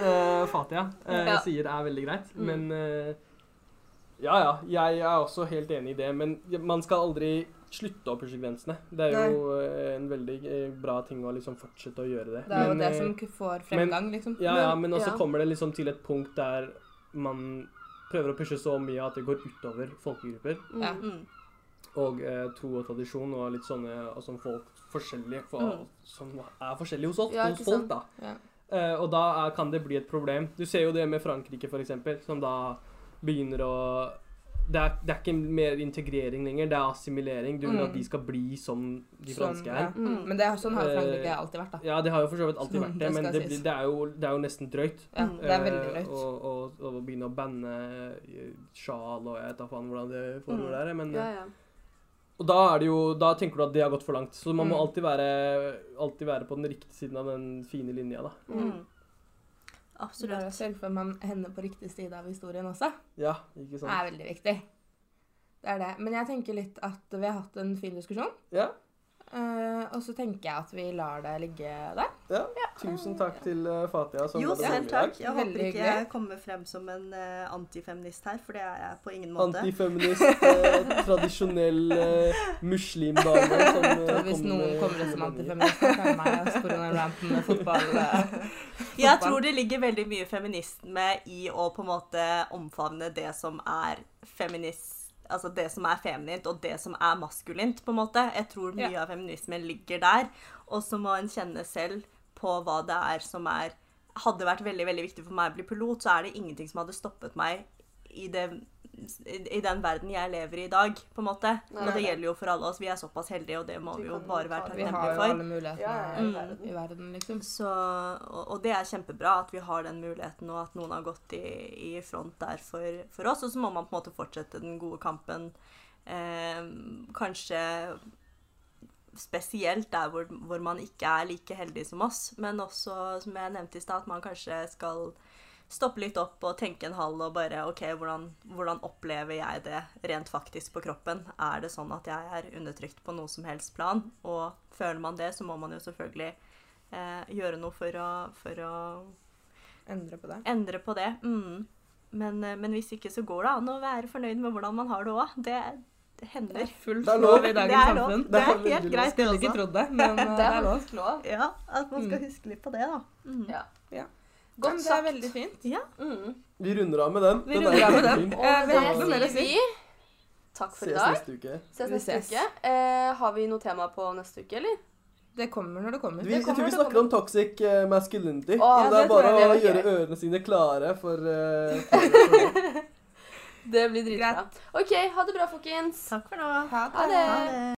S3: Eh, Fatia eh,
S2: Ja.
S3: sier er veldig greit,
S2: Mm.
S3: men eh, Ja ja, jeg er også helt enig i det, men man skal aldri slutte å pushe grensene. Det er jo eh, en veldig eh, bra ting å liksom fortsette å gjøre det.
S1: (laughs) Det er jo
S3: Men,
S1: det
S3: eh,
S1: som k- får fremgang, liksom.
S3: Ja, ja, men også
S2: ja.
S3: kommer det liksom til et punkt der man prøver å pushe så mye at det går utover folkegrupper
S1: Ja.
S2: Mm.
S4: Mm.
S3: og eh, tro og tradisjon og litt sånne og sånn folk forskjellige for,
S4: Mm.
S3: som er forskjellige hos oss,
S2: Ja,
S3: hos
S2: ikke
S3: folk,
S2: sant?
S3: da.
S1: Ja.
S3: Eh, og da er, kan det bli et problem. Du ser jo det med Frankrike, for eksempel, som da begynner å det er, det er ikke mer integrering lenger, det er assimilering. Du vil
S1: Mm.
S3: at de skal bli som de
S1: Sånn,
S3: franske er.
S1: ja. Men det er sånn har jo Frankrike
S3: Eh,
S1: alltid vært, da.
S3: Ja, det har jo for så vidt
S1: Sånn,
S3: alltid vært det,
S1: det
S3: men
S1: skal
S3: det,
S1: sies.
S3: blir, det, er jo, det er jo nesten drøyt.
S1: Ja, det er veldig
S3: Eh,
S1: drøyt.
S3: Og, og, og begynne å banne eh, sjal og jeg vet da faen hvordan det foregår der. Men,
S2: Ja, ja.
S3: Og da, er det jo, da tenker du at det har gått for langt. Så man må
S1: Mm.
S3: alltid være, alltid være på den riktige siden av den fine linja, da.
S2: Mm.
S4: Mm.
S1: Så det å
S4: Absolutt.
S1: sørge for at man hender på riktig side av historien også,
S3: Ja, ikke sant?
S1: er veldig viktig. Det er det. Men jeg tenker litt at vi har hatt en fin diskusjon.
S3: Ja.
S1: Eh, og så tenker jeg at vi lar det ligge der.
S3: Tusen takk til eh, Fatia. Som
S4: Jo,
S3: hadde
S4: selv
S3: vært med i dag.
S4: takk. Jeg håper
S1: Veldig
S4: ikke jeg kommer frem som en eh, antifeminist her, for det er jeg på ingen måte.
S3: Antifeminist, eh, tradisjonell eh, muslimdame som eh,
S1: Så hvis
S3: kommer
S1: noen
S3: med
S1: kommer ut
S3: sine
S1: som
S3: meninger.
S1: antifeminist, så kan meg og spore den ranten med fotball. eh.
S4: Jeg tror det ligger veldig mye feminisme i å på en måte omfavne det som er feminist Altså det som er feminint, og det som er maskulint, på en måte. Jeg tror mye
S1: Ja.
S4: av feminismen ligger der. Og så må en kjenne selv på hva det er som er Hadde vært veldig veldig viktig for meg å bli pilot, så er det ingenting som hadde stoppet meg i, det, i den verden jeg lever i i dag, på en måte.
S2: Nei,
S4: og det
S2: nei.
S4: gjelder jo for alle oss. Vi er såpass heldige, og det må
S2: Vi
S4: vi jo
S2: kan
S4: bare
S2: ta
S4: være
S2: det.
S1: Vi
S4: takknemlige
S1: har
S4: for.
S1: jo alle
S2: Ja, ja, i
S1: mulighetene
S2: verden.
S1: i verden, liksom.
S4: Så, og, og det er kjempebra at vi har den muligheten, og at noen har gått i, i front der for, for oss. Og så må man på en måte fortsette den gode kampen. Eh, kanskje spesielt der hvor, hvor man ikke er like heldig som oss, men også, som jeg nevnte i stad, at man kanskje skal stoppe litt opp og tenke en halv og bare OK, hvordan, hvordan opplever jeg det rent faktisk på kroppen? Er det sånn at jeg er undertrykt på noe som helst plan? Og føler man det, så må man jo selvfølgelig eh, gjøre noe for å, for å
S1: Endre på det.
S4: endre på det. Mm. Men, eh, men hvis ikke, så går det an å være fornøyd med hvordan man har det òg. Det, det
S1: Det
S4: hender.
S1: er fullt
S3: Det er lov.
S1: lov i dagens
S4: Det er lov.
S1: samfunn.
S4: Det er
S1: veldig
S4: helt
S1: lov.
S4: greit,
S1: Skulle
S4: det
S1: ikke trodd det, men eh, det er lov.
S2: faktisk lov.
S4: Ja, At man skal
S1: Mm.
S4: huske litt på det, da. Mm.
S2: Ja.
S1: Men
S2: Godt
S1: det er
S2: sagt.
S1: veldig fint.
S2: Mm.
S3: Vi runder av med den.
S1: Vi
S3: Den er
S1: runder av med den.
S3: veldig fin.
S1: Eh,
S2: Og
S1: vi har ikke noe
S2: med
S1: mer å
S2: det
S1: si.
S2: sier vi takk for i
S3: Ses
S2: dag.
S3: neste uke.
S2: Ses
S1: Vi
S2: neste
S1: ses.
S2: uke. Eh, har vi noe tema på neste uke, eller?
S1: Det kommer når det kommer.
S3: Vi, jeg
S2: kommer,
S3: tror vi
S2: det
S3: snakker om toxic eh, masculinity.
S2: Å,
S3: så
S1: det
S3: det er
S1: tror
S3: bare
S1: jeg
S3: å
S2: det er
S3: gjøre
S2: gøy.
S3: ørene sine klare for, eh, for, for
S2: Det blir dritbra. OK, ha det bra, folkens.
S4: Takk for nå.
S1: Ha
S2: Ha det.
S4: Ha det.